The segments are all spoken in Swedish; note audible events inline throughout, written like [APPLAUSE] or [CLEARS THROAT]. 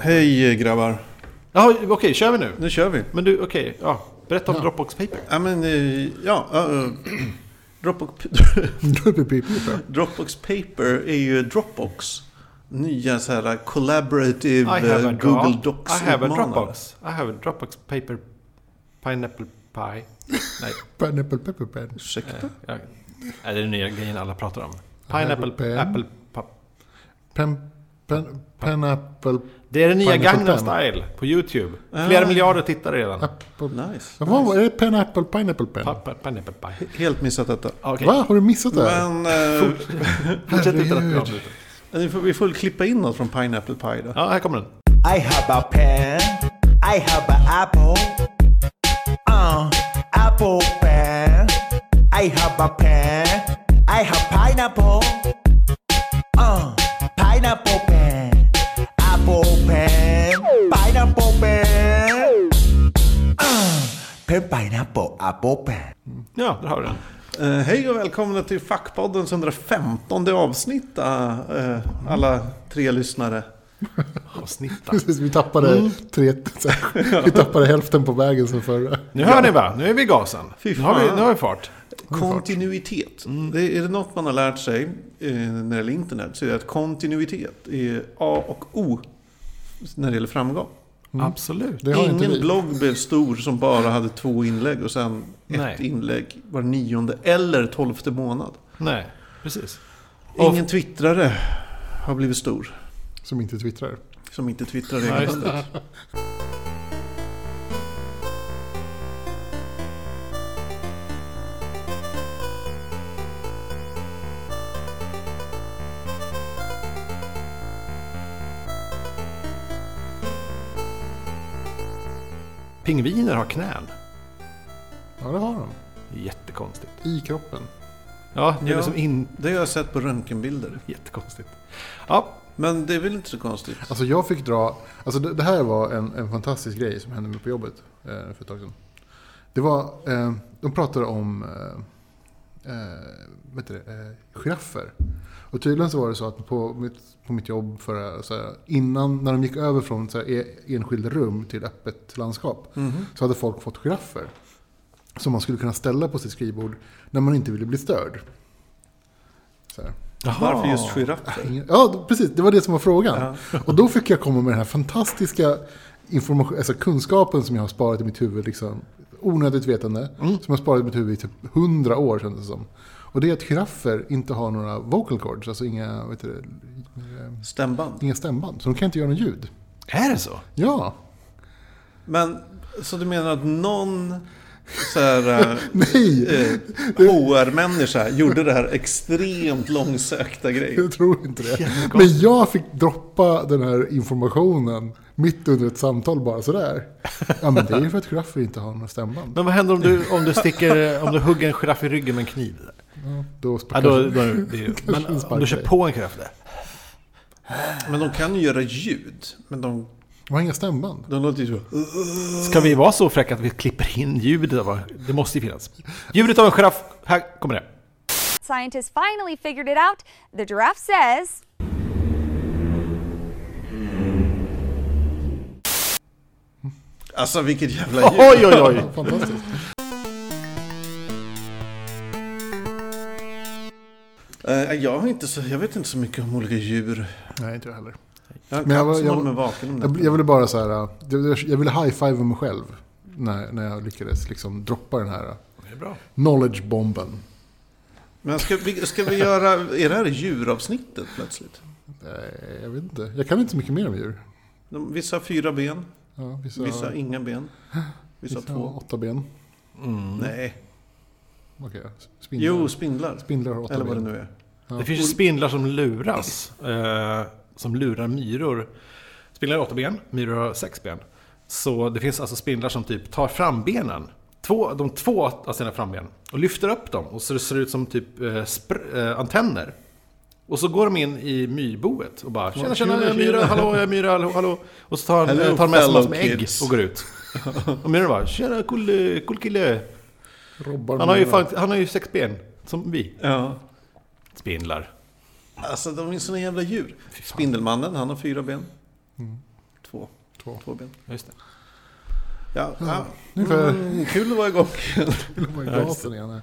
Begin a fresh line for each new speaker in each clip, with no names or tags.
Hej grabbar,
Jaha, okej, kör vi nu?
nu kör vi.
Men du, okej, ja. Berätta om Dropbox Paper.
Ja, men, eh, ja, ja, eh, [CLEARS THROAT] Dropbox, [CLEARS THROAT] Dropbox Paper är ju Dropbox. Nya så här
I
collaborative eh,
dro-
Google
I have a
Docs-utmanare.
Dropbox. I have a Dropbox Paper Pineapple Pie. Nej,
Pineapple pepper pen.
Ursäkta?
jag, är det är den nya grejen alla pratar om. Pineapple,
pen.
apple, pa,
Pen, pen, pineapple
Det är den nya
Pineapple
Gangnam
pen.
Style på YouTube. Flera miljarder tittare redan.
apple.
Eh.
Nice.
Vad är det? Pineapple pineapple pen?
Pa, pa, pineapple Pie.
Helt missat detta.
Okej,
Va? Har du missat det här?
Men eh,
fortsätt titta
herregud.
på
vi får- vi får väl klippa in något från Pineapple Pie då.
Ja, här kommer den.
I have a pen. I have an apple. Uh, apple pen. I have a pen. I have pineapple. Uh, pineapple pen. Apple pen. Pineapple pen. Uh, pen pineapple apple pen.
Ja, där har du den.
Eh, hej och välkomna till Fackpoddens 115 avsnitt eh, alla tre lyssnare.
Och snitta.
Precis, vi tappade, tre, [LAUGHS] så här, vi tappade hälften på vägen som förra.
Nu hör ni va? Nu är vi i gasen.
Fy
Nu har vi,
fan.
nu har vi fart.
Kontinuitet. Mm, Det, är det något man har lärt sig eh, när det gäller internet så är det att kontinuitet är A och O när det gäller framgång.
Absolut.
Det har inte
Ingen
vi.
blogg blev stor som bara hade två inlägg och sen
Nej.
ett inlägg var nionde eller tolfte månad.
Nej, precis. Och-
Ingen twittrare har blivit stor
Som inte twittrar.
som inte twittrar
Ja, just
regelbundet.
det. Pingviner har knän.
Ja, det har de.
Jättekonstigt.
I kroppen.
Ja, det är
Ja.
liksom inte
Det har jag sett på röntgenbilder.
jättekonstigt. Ja,
Men det är väl inte så konstigt.
Alltså jag fick dra, alltså det, det här var en, en fantastisk grej som hände mig på jobbet eh, för ett tag sedan. Det var, eh, de pratade om, eh, eh, vad heter det, eh, giraffer. Och tydligen så var det så att på mitt, på mitt jobb förra, så här, innan, när de gick över från så här, e- enskilda rum till öppet landskap, så hade folk fått giraffer. Som man skulle kunna ställa på sitt skrivbord när man inte ville bli störd. Så här.
Varför just giraffer?
Ingen- Ja, precis. Det var det som var frågan. Och då fick jag komma med den här fantastiska information, alltså kunskapen som jag har sparat i mitt huvud. Liksom, onödigt vetande. Som jag har sparat i mitt huvud i typ hundra år kändes det som. Och det är att giraffer inte har några vocal cords, alltså inga, vet du,
Stämband.
eh, inga stämband. Så de kan inte göra något ljud.
är det så?
Ja, [LAUGHS]
Men, så du menar att någon så här, eh,
nej,
eh, HR-människa gjorde det här extremt långsökta grejen?
jag tror inte det. Men jag fick droppa den här informationen mitt under ett samtal bara sådär. Ja, men det är ju för att giraffer inte har några stämband.
Men vad händer om du, om du, [LAUGHS] sticker, om du hugger en giraff i ryggen med en kniv?
Då
Ja, då, då, är det ju, men
en spark
om du kör
dig.
på en giraff där?
Men de kan ju göra ljud. Men de,
De har inga stämband.
de låter ju så.
Ska vi vara så fräcka att vi klipper in ljudet av Det måste ju finnas. Ljudet av en giraff. Här kommer det.
Scientists finally figured it out. The giraffe says,
Alltså vilket jävla ljud.
Oj, oj, oj.
Fantastiskt.
Eh, jag, har inte så, jag vet inte så mycket om olika djur.
[LAUGHS] Nej, inte jag heller.
Jag har en
Men jag
katt
var-
som
jag
håller
var-
mig vaken om
Jag,
nätterna.
bl- jag ville bara så här, äh, jag, jag ville high-fiva mig själv när, när jag lyckades liksom droppa den här äh, knowledge-bomben.
Men ska vi, ska vi göra, är det här djuravsnittet plötsligt?
Nej, Eh, jag vet inte. Jag kan inte så mycket mer om djur.
De, vissa har fyra ben,
Ja, vissa,
vissa har inga ben, vissa,
vissa
har
har
två.
åtta ben.
Nej.
Okej, spindlar.
Jo, spindlar.
Mm. spindlar har åtta
Eller vad det
ben.
nu är.
Det finns ju spindlar som luras. Eh, som lurar myror. Spindlar har åtta ben, myror har sex ben. Så det finns alltså spindlar som typ tar frambenen. Två, de två av sina framben. Och lyfter upp dem. Och så det ser ut som typ eh, spr- eh, antenner. Och så går de in i myrboet och bara Tjena tjena, jag är myra, hallå, jag är myra, hallå, hallå. Och så tar,
Hello,
Hello, tar de med sig massor med
fellow
ägg
kids.
och går ut. Och myran bara Tjena cool, eh, cool kille.
Robbar
Han har ju,
med-
fan, han har ju sex ben. Som vi.
Ja.
Spindlar. Mm.
Alltså de är såna jävla djur. Spindelmannen, han har fyra ben. två,
Två.
två ben.
Just det.
Ja, ja.
Ungefär.
Mm, kul att vara igång [LAUGHS] igen.
Vill man ju gasen igen. här.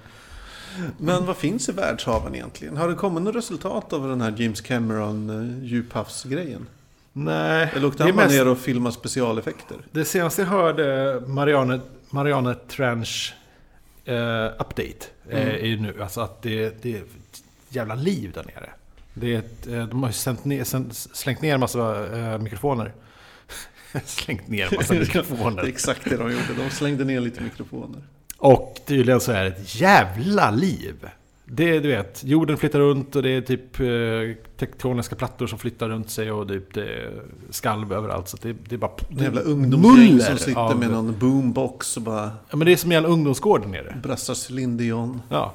Men vad finns i världshaven egentligen? Har det kommit något resultat av den här James Cameron eh, djuphavsgrejen?
Nej,
Eller åkte
det är
han bara
mest-
ner och filmade specialeffekter?
Det senaste jag hörde, Marianne, Marianne Trench eh, Update, eh,
Mm.
är ju nu alltså att det, det är ett jävla liv där nere. Det är ett, eh, de har ju sänt ner, sänt, slängt ner en massa eh, mikrofoner. [LAUGHS] slängt ner
[LAUGHS]
en massa
Det är
[LAUGHS] mikrofoner.
exakt det de gjorde. De slängde ner lite mikrofoner.
Och tydligen så är det ett jävla liv. Det är, du vet, jorden flyttar runt och det är typ eh, tektoniska plattor som flyttar runt sig och typ det är skalv överallt. Så det, det är bara...
En jävla ungdomsgäng
muller
som sitter
av-
med någon boombox och bara
Ja men det är som en jävla ungdomsgård där nere.
brassar cylindion.
Ja.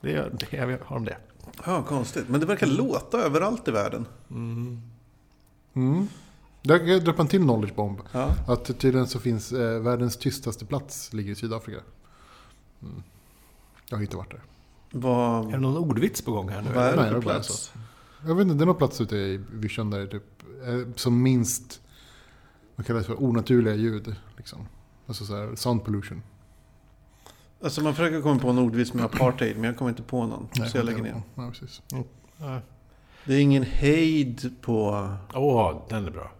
Det, gör, det jag har de det.
Ja, konstigt. Men det verkar låta överallt i världen.
Där kan jag droppa en till knowledge bomb.
Ja.
Att tydligen så finns eh, världens tystaste plats ligger i Sydafrika. Mm. Jag har inte varit där.
Är det
Vad,
någon ordvits på gång här nu?
vad är
Nej,
det
det
för
var bara
plats?
så. Jag vet inte, det är någon plats ute i vischan där det typ, eh, som minst vad kallas det för onaturliga ljud. Liksom. Alltså så här, sound pollution.
Alltså man försöker komma på en ordvits med apartheid, men jag kommer inte på någon.
Nej,
så jag lägger ner.
Ja, precis.
Det är ingen hejd på
Åh, den är bra.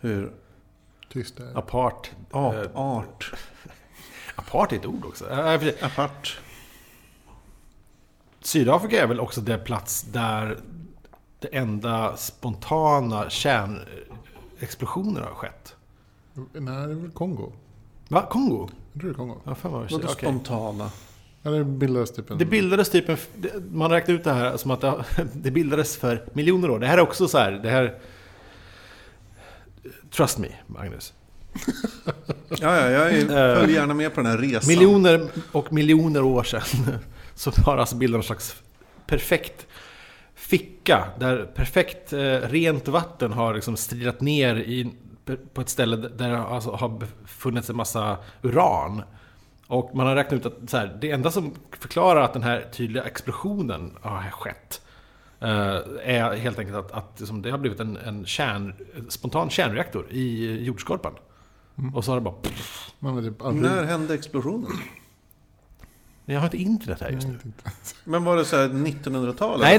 hur
Tyst där.
Apart. eh,
ap, art,
apart är ett ord också. Eh, för-
apart.
Sydafrika är väl också den plats där det enda spontana kärnexplosioner har skett?
Nej, det är väl Kongo?
Va? Kongo?
Jag tror det är Kongo.
Ja, fan vad
Vadå
okej.
spontana?
Ja, det bildades typ en...
Det bildades typ en... det- Man räknar ut det här som att det, har- [LAUGHS] det bildades för miljoner år. Det här är också så här... Det här... Trust me, Magnus.
Ja, ja, jag är- följer gärna med på den här resan.
Miljoner och miljoner år sedan [LAUGHS] så har alltså bilden någon slags perfekt ficka där perfekt eh, rent vatten har liksom strilat ner i, på ett ställe där det alltså har befunnits en massa uran. Och man har räknat ut att så här, det enda som förklarar att den här tydliga explosionen har skett eh, är helt enkelt att, att liksom, det har blivit en, en kärn, en spontan kärnreaktor i jordskorpan. Och så har det bara... Pff,
Man har typ aldrig...
När hände explosionen?
jag har inte internet här just nu.
Men var det så här 1900-talet?
Nej,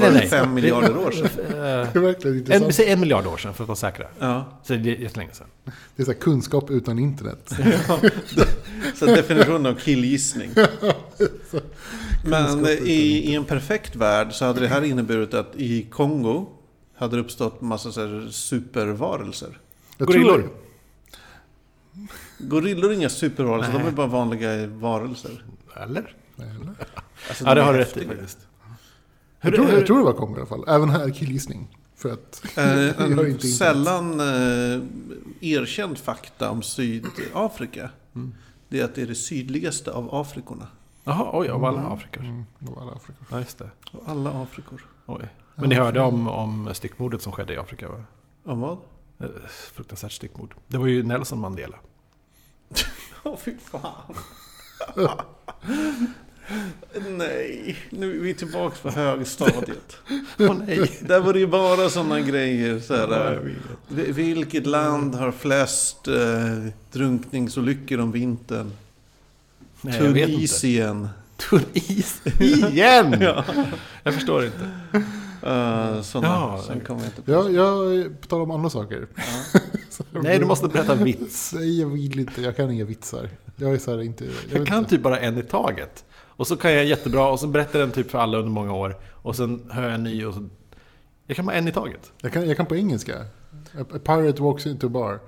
var
nej,
det
nej.
fem miljarder år [LAUGHS] sedan?
[LAUGHS] Det är
[LAUGHS]
verkligen
En,
intressant.
säg en miljard år sedan för att vara säkra.
Ja.
Så det är jättelänge sedan.
Det är så här, kunskap
[LAUGHS]
utan internet.
Så definitionen av killgissning. Men i, i en perfekt värld så hade det här inneburit att i Kongo hade det uppstått massa så här supervarelser.
Jag
Gorillor.
Tror,
Gorillor är inga supervarelser, de är bara vanliga varelser.
Eller?
nej, eller?
Alltså,
Ja,
de
det
är
har du rätt
häftiga.
i faktiskt. Hur,
jag, tror,
hur,
jag tror det var Kongo i alla fall. Även här killgissning. För att...
Eh,
[LAUGHS] jag har
en
inte internet.
sällan eh, erkänd fakta om Sydafrika.
Mm.
Det är att det är det sydligaste av Afrikorna.
Jaha, oj, av alla Afrika.
Mm, Det var alla Afrika.
Mm. Ja, just det.
Av Alla Afrikor.
Oj. Men ni hörde om, om styckmordet som skedde i Afrika, va?
Om vad?
Eh, Fruktansvärt styckmord. Det var ju Nelson Mandela.
[LAUGHS] Åh, fy fan. nej, nu är vi tillbaka på högstadiet.
Åh nej!
Där var det ju bara sådana grejer. Så här, eh, vi- vilket land har flest eh, drunkningsolyckor om vintern?
[LAUGHS] nej jag vet inte.
Tunisien.
Tunis. [LAUGHS] Igen! Jag förstår inte.
Uh, sådana.
Ja,
Sen kommer jag inte på.
Jag, jag, på tal om andra saker. [LAUGHS]
Nej, du måste berätta en vits.
Nej, jag vill inte. Jag kan inga vitsar. Jag är så här inte... Jag,
Jag
vet
kan
inte.
typ bara en i taget. Och så kan jag jättebra och så berättar jag den typ för alla under många år. Och sen hör jag en ny och så... Jag kan bara en i taget.
Jag, kan, jag kan på engelska. A, a pirate walks into a bar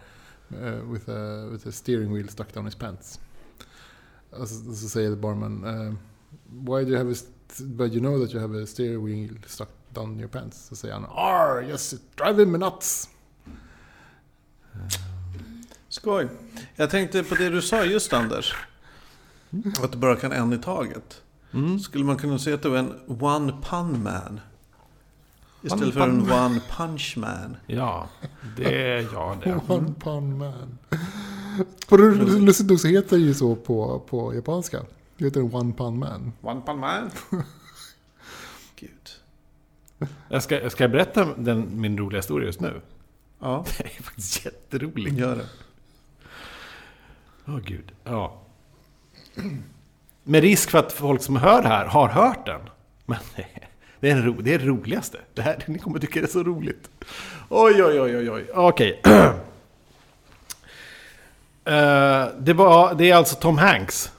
eh, with, a, with a steering wheel stuck down his pants. Alltså, så säger the barman. eh, why do you have a... st- But you know that you have a steering wheel stuck down your pants. Så säger han. Arr, yes, drive him nuts.
Skoj. Jag tänkte på det du sa just Anders. Att du bara kan en i taget.
Mm.
Skulle man kunna säga att du är en one pun man? Istället
One
för en one punch man.
Ja, det... Ja, [LAUGHS] det.
One pun man. På det- Lustigt nog så heter det ju så på, på japanska. Det heter en one pun man.
One pun [LAUGHS] man. Gud.
Jag ska, jag ska berätta den, min roliga historia just nu?
Ja,
Det är faktiskt jätteroligt.
gör det.
Åh gud. Ja. Med risk för att folk som hör det här har hört den. Men [LAUGHS] det är, en ro, det är det roligaste. Det här, ni kommer tycka det är så roligt. Oj, oj, oj, oj, oj. Okej. [CLEARS THROAT] Eh, det, var, det är alltså Tom Hanks.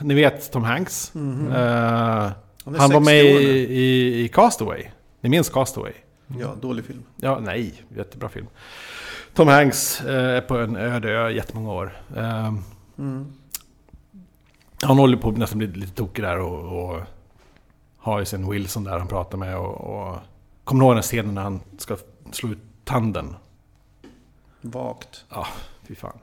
Ni vet Tom Hanks. Eh,
Han Mhm. är
han
60
var med
år nu.
i, i, i Castaway. Ni minns Castaway?
Mm. Ja, dålig film.
Ja, nej, jättebra film. Tom Hanks eh, är på en öde ö i jättemånga år. Eh,
Mm.
Han håller på att nästan bli lite tokig där och, och har ju sin Wilson där han pratar med. Och, och, kommer ni ihåg den scenen när han ska slå ut tanden?
Vagt.
Ja, fy fan.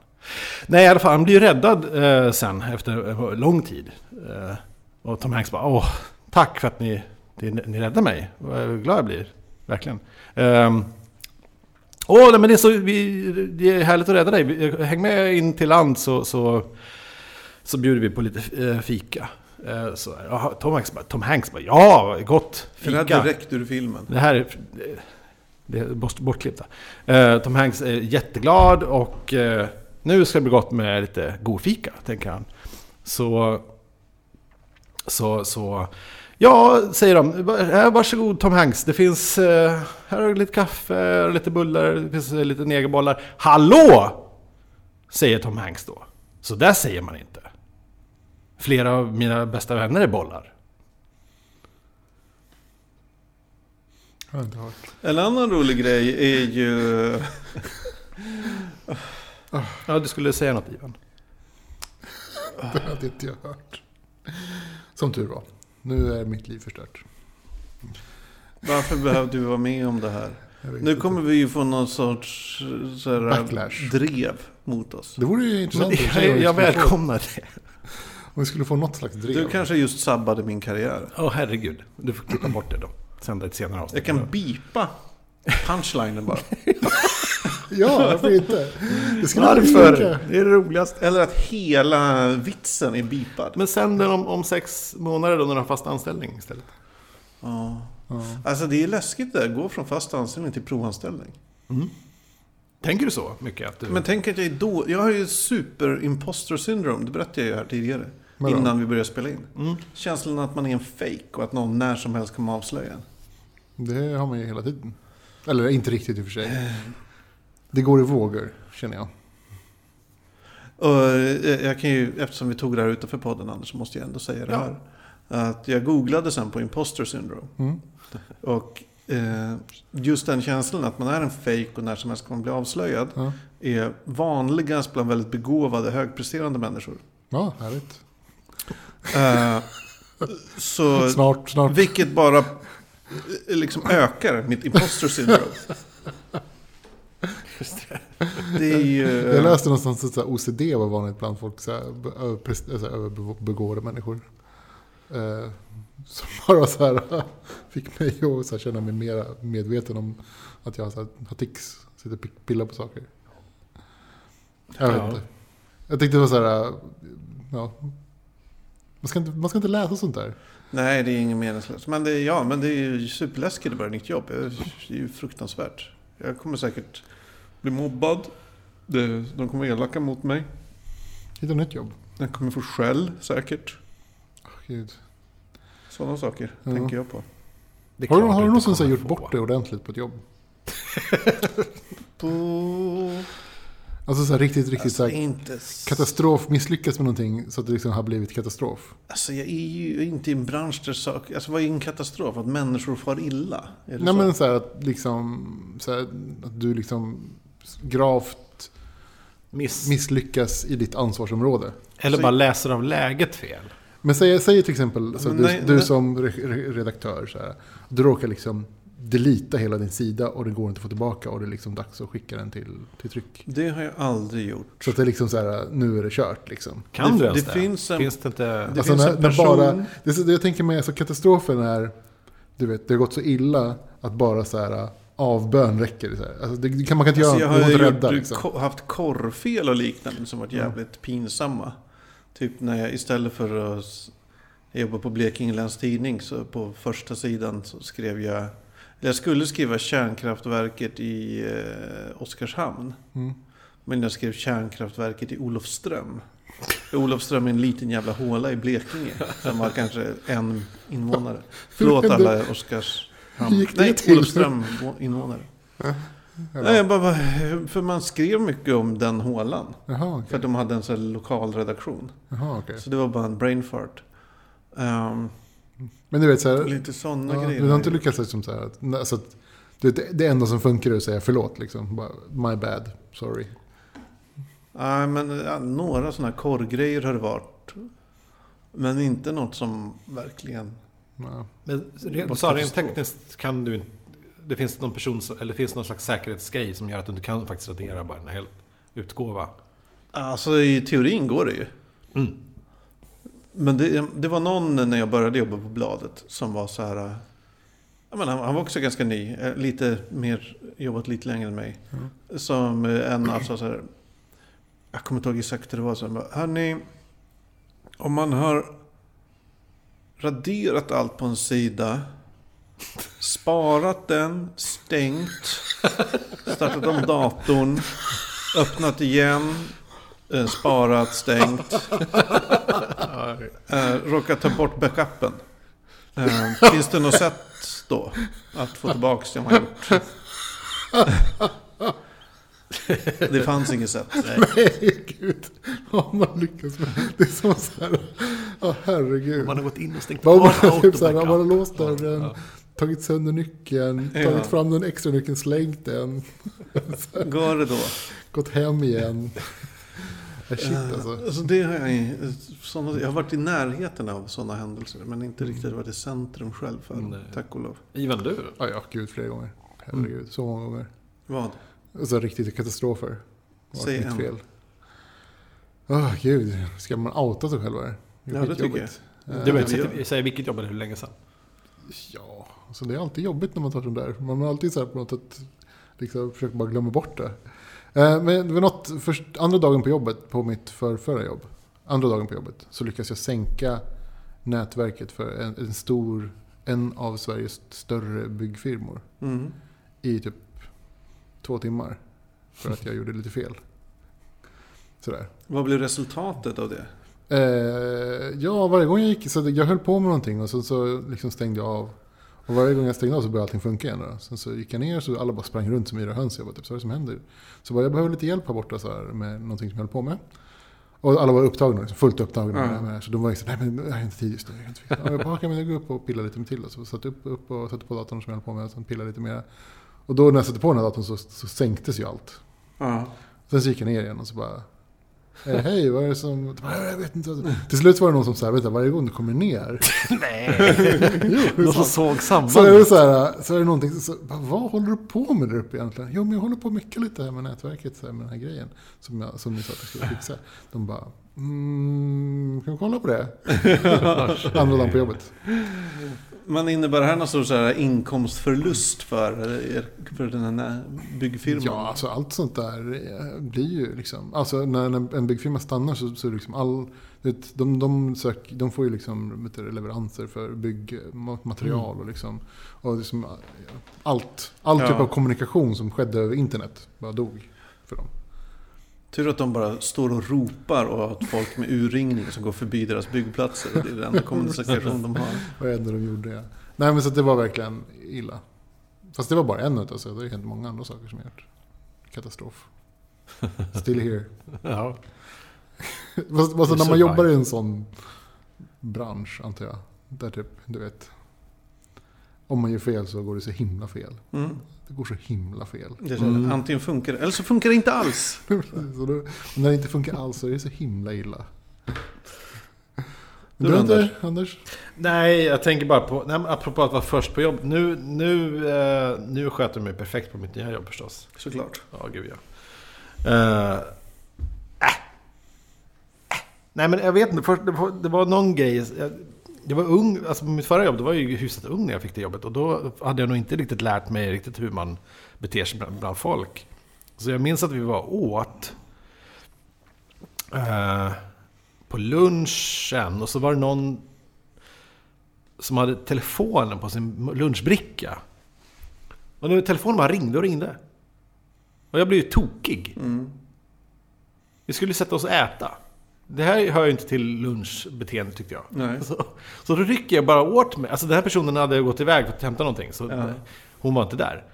Nej, i alla fall, han blir ju räddad eh, sen efter eh, lång tid. Eh, och Tom Hanks bara, åh, tack för att ni, ni, ni räddade mig. Vad glad jag blir, verkligen. Ehm, Åh, nej, men det är, så, vi, det är härligt att rädda dig. Vi- eh, Häng med in till land så, så, så bjuder vi på lite eh, fika. Eh, Så, här. Jaha, Tom, Hanks bara, Tom Hanks bara, ja, gott fika.
Är det här direkt ur filmen?
Det här är, det är bort- bortklippta. Eh, Tom Hanks är jätteglad och eh, nu ska det bli gott med lite god fika, tänker han. Så, så, så, ja, säger de. "Va- här, Varsågod Tom Hanks, det finns, eh, här har du lite kaffe, lite bullar, det finns eh, lite negerbollar. Hallå! Säger Tom Hanks då. Så där säger man inte. Flera av mina bästa vänner är bollar.
Har jag inte hört.
En annan rolig grej är ju...
Ja, du skulle säga något Ivan.
[LAUGHS] Det hade inte jag hört. Som tur var. Nu är mitt liv förstört.
Varför behövde vi vara med om det här?
Jag vet
Nu
inte.
kommer vi ju få någon sorts eh, så här,
Backlash.
drev mot oss.
Det vore ju liksom-
Men
intressant att
det,
se om
jag,
vi
jag
skulle få-
välkomnar det.
Om vi skulle få något slags drev.
Du kanske just sabbade min karriär.
Åh herregud, du får klippa bort det då. Sända ett senare
Jag
avsnitt.
kan bipa punchlinen
[LAUGHS]
bara.
Ja, varför
[LAUGHS]
inte? Det skulle bli
Varför?
olika.
Det är det roligaste.
Eller att hela vitsen är bipad.
Men sänd den om, om sex månader då när du har fast anställning istället.
Ja. Alltså det är läskigt det där, gå från fast anställning till provanställning.
Tänker du så mycket? Att du...
Men tänk att jag är då, jag har ju super imposter syndrome, det berättade jag ju här tidigare.
Vadå? Mm.
Innan vi började spela in. Känslan att man är en fake och att någon när som helst kommer avslöja en.
Det har man ju hela tiden. Eller inte riktigt i och för
Eh.
sig. Det går i vågor, känner jag.
Och eh, jag kan ju, eftersom vi tog det här utanför podden Anders, så måste jag ändå säga det
Ja.
här. Att jag googlade sen på imposter syndrome.
Mm.
Och eh, just den känslan att man är en fake och när som helst kan man bli avslöjad.
Ja,
Är vanligast bland väldigt begåvade, högpresterande människor.
ja härligt.
Eh, så,
Snart, snart.
vilket bara eh, liksom ökar mitt imposter syndrome. Det är ju...
Ehm.
Jag läste någonstans att så här OCD var vanligt bland folk, så här, be- överpres- alltså, överbegåvade människor. Eh, [LAUGHS] som bara så här, [LAUGHS] fick mig att så här, känna mig mer medveten om att jag så här, har tics, sitter och pick- pillar på saker. Jag vet
Ja.
inte. Jag tyckte det var så här, eh, ja. Man ska, inte, man ska inte läsa sånt där.
Nej, det är ingen meningslöst. Men det är, ja, men det är ju superläskigt att börja nytt jobb. Det är ju fruktansvärt. Jag kommer säkert bli mobbad. Det- De kommer vara elaka mot mig.
Hitta nytt jobb.
Jag kommer få skäll säkert.
Åh, Gud.
Sådana saker
Ja.
tänker jag på.
Det är
Har du,
klart
har
inte
du någonsin så här
kommer
gjort
få.
bort det ordentligt på ett jobb?
på...
Alltså så här, riktigt, riktigt
Alltså,
så här,
inte... s-
katastrof, misslyckas med någonting så att det liksom har blivit katastrof.
Alltså, jag är ju inte i en bransch där saker... Alltså, vad är en katastrof? Att människor far illa? Är det
Nej
så?
men så här att liksom, så här, att du liksom gravt
Miss.
misslyckas i ditt ansvarsområde.
Eller
Så-
bara läser av läget fel.
Men säg, säg till exempel, så
Men
du,
nej,
du
nej.
som re- re- redaktör, så här, du råkar liksom delita hela din sida och det går inte att få tillbaka och det är liksom dags att skicka den till, till tryck.
Det har jag aldrig gjort.
Så att det är liksom så här, nu är det kört liksom.
Kan
Det-
du ens
det
det?
finns en-
det inte...
Det
alltså
finns
när,
en
när
person-
bara, det, är så- det jag tänker mig, alltså katastrofen är, du vet, det har gått så illa att bara så här, avbön räcker. Så här. Alltså, det, det kan, man kan inte
Alltså, jag
göra, man
har
kan
ju
inte rädda
gjort,
liksom.
ko- haft korvfel och liknande som varit jävligt pinsamma. Typ när jag istället för att s- jobba på Blekinge Läns Tidning så på första sidan så skrev jag Jag skulle skriva kärnkraftverket i eh, Oskarshamn. Men jag skrev kärnkraftverket i Olofström. Olofström är en liten jävla håla i Blekinge. Som har kanske en invånare. Förlåt alla
Hur
Oskarshamn.
gick det
Nej,
till?
Olofström invånare. Nej, jag bara, bara, för man skrev mycket om den hålan.
Jaha, okej.
För att de hade en sån här lokal redaktion.
Jaha, okej.
Så det var bara en brain fart. Ehm,
Men du vet så här,
lite sådana
ja,
grejer.
du har inte lyckats liksom så här att, nej, alltså att du vet, det- det enda som funkar är att säga förlåt liksom. Bara, My bad, sorry.
Nej, men ja, några sådana här korvgrejer har det varit. Men inte något som verkligen...
Ja.
Men rent,
Vad
så
ska
rent
förstå?
tekniskt kan du inte... Det finns någon person, som- eller det finns någon slags säkerhetsgrej som gör att du inte kan faktiskt radera bara en hel utgåva.
Alltså i teorin går det ju.
Mm.
Men det, det var någon när jag började jobba på Bladet som var så här... Ja, men han, han var också ganska ny, eh, lite mer, jobbat lite längre än mig. Som eh, en alltså så här... Jag kommer inte ihåg exakt hur det var. Så han bara, hörni, om man har raderat allt på en sida, sparat den, stängt, startat om datorn, öppnat igen, eh, sparat, stängt. Eh, råkat ta bort backupen. Eh, finns det något sätt då att få tillbaka det man har gjort? det fanns inget sätt.
Nej, [LAUGHS] gud. Har man lyckats med? Det är som så här, ja herregud.
Man har gått in och stängt
Vad
av
om man, [LAUGHS] typ såhär, om man har
autobackup.
låst dörren, tagit sönder nyckeln,
Ja.
tagit fram den extra nyckeln, slängt den,
Går det då?
gått hem igen. Ja, Shit alltså.
Alltså det har jag, såna, jag har varit i närheten av sådana händelser, men inte riktigt varit i centrum själv för,
Nej.
tack och lov.
Ivan, du?
Ja, ja, gud flera gånger. Herregud, så många gånger.
Vad?
Alltså riktiga katastrofer. Det var
Säg
mitt
en.
fel. Åh gud, ska man outa sig själv eller?
Ja, det tycker jag.
jag.
Du
Ja,
vet,
det
säg-
gör-
säg vilket jobb eller hur länge sedan?
Ja, alltså det är alltid jobbigt när man tar sånt där. Man har alltid så här på något sätt, liksom, försöker bara glömma bort det. Eh, Men det var något, först, andra dagen på jobbet, på mitt förrförra jobb, andra dagen på jobbet, så lyckas jag sänka nätverket för en, en stor, en av Sveriges större byggfirmor
Mm.
i typ två timmar. För att jag gjorde lite fel. Sådär.
Vad blev resultatet av det?
Eh, ja, varje gång jag gick så jag höll på med någonting och sen så liksom stängde jag av. Och varje gång jag stängde av så började allting funka igen. Då. Sen så gick jag ner så alla bara sprang runt som yra höns. Jag bara, typ, så vad är det som händer? Så bara, jag behöver lite hjälp här borta så här, med någonting som jag höll på med. Och alla var upptagna, liksom, fullt upptagna. med
Mm.
det här Med det här. så de var ju så här, nej men jag har inte tid just nu. Jag, har inte tid." Ja, jag bara, kan jag gå upp och pilla lite med till? Och så satte jag upp, upp och satte på datorn som jag höll på med och sen pillade lite mer. Och då när jag satte på den här datorn så, så sänktes ju allt.
Ja.
Sen så gick jag ner igen och så bara... Eh, Hej, vad är det som... De bara, Jag vet inte. Till slut var det någon som sa, vänta, varje gång du kommer ner... jo,
Någon
så,
som såg sambandet?
så är det så här, så är det någonting, så, bara, vad håller du på med där uppe egentligen? Jo, men jag håller på och mycket lite här med nätverket, så här, med den här grejen. Som, jag, som ni sa att jag skulle fixa. De bara, mm, kan vi kolla på det? [LAUGHS] Andra dagen på jobbet.
Men innebär det här någon sorts så här inkomstförlust för, er, för den här byggfirman?
Ja, alltså allt sånt där eh, blir ju liksom... Alltså när när en byggfirma stannar så, så är det liksom all... du Vet, de, de, sök, de får ju liksom vet du, leveranser för byggmaterial och liksom... Och liksom eh, allt, all
Ja.
typ av kommunikation som skedde över internet bara dog för dem.
Tur att de bara står och ropar och har folk med urringning som går förbi deras byggplatser. Det är den enda kommunikation de har.
Vad är det de gjorde? Ja. Nej men så att det var verkligen illa. Fast det var bara en utav så det har hänt många andra saker som har gjort katastrof. Still here.
Ja.
Fast, fast
You
när man
survive.
jobbar i en sån bransch, antar jag. Där typ, du vet. Om man gör fel så går det så himla fel.
Mm.
Det går så himla fel. [LAUGHS]
Det är så här, Antingen funkar det, eller så funkar det inte alls.
så då, när det inte funkar alls så är det så himla illa.
Du
Du, du
då,
Anders? Anders?
Nej, jag tänker bara på, nej, men apropå att vara först på jobb. Nu, nu, eh, nu sköter jag mig perfekt på mitt nya jobb förstås.
Såklart.
Ja, gud ja. Eh, äh. Äh. Nej, men jag vet inte. Först, det, var, det var någon grej. Jag, jag var ung, alltså på mitt förra jobb, då var jag ju hyfsat ung när jag fick det jobbet. Och då hade jag nog inte riktigt lärt mig riktigt hur man beter sig bland, bland folk. Så jag minns att vi var åt eh, på lunchen och så var det någon som hade telefonen på sin lunchbricka. Och nu telefonen bara ringde och ringde. Och jag blev ju tokig.
Mm.
Vi skulle sätta oss och äta. Det här hör ju inte till lunchbeteende tyckte jag.
Nej.
Så, så då rycker jag bara åt mig. Alltså den här personen hade gått iväg för att hämta någonting. Så Hon var inte där.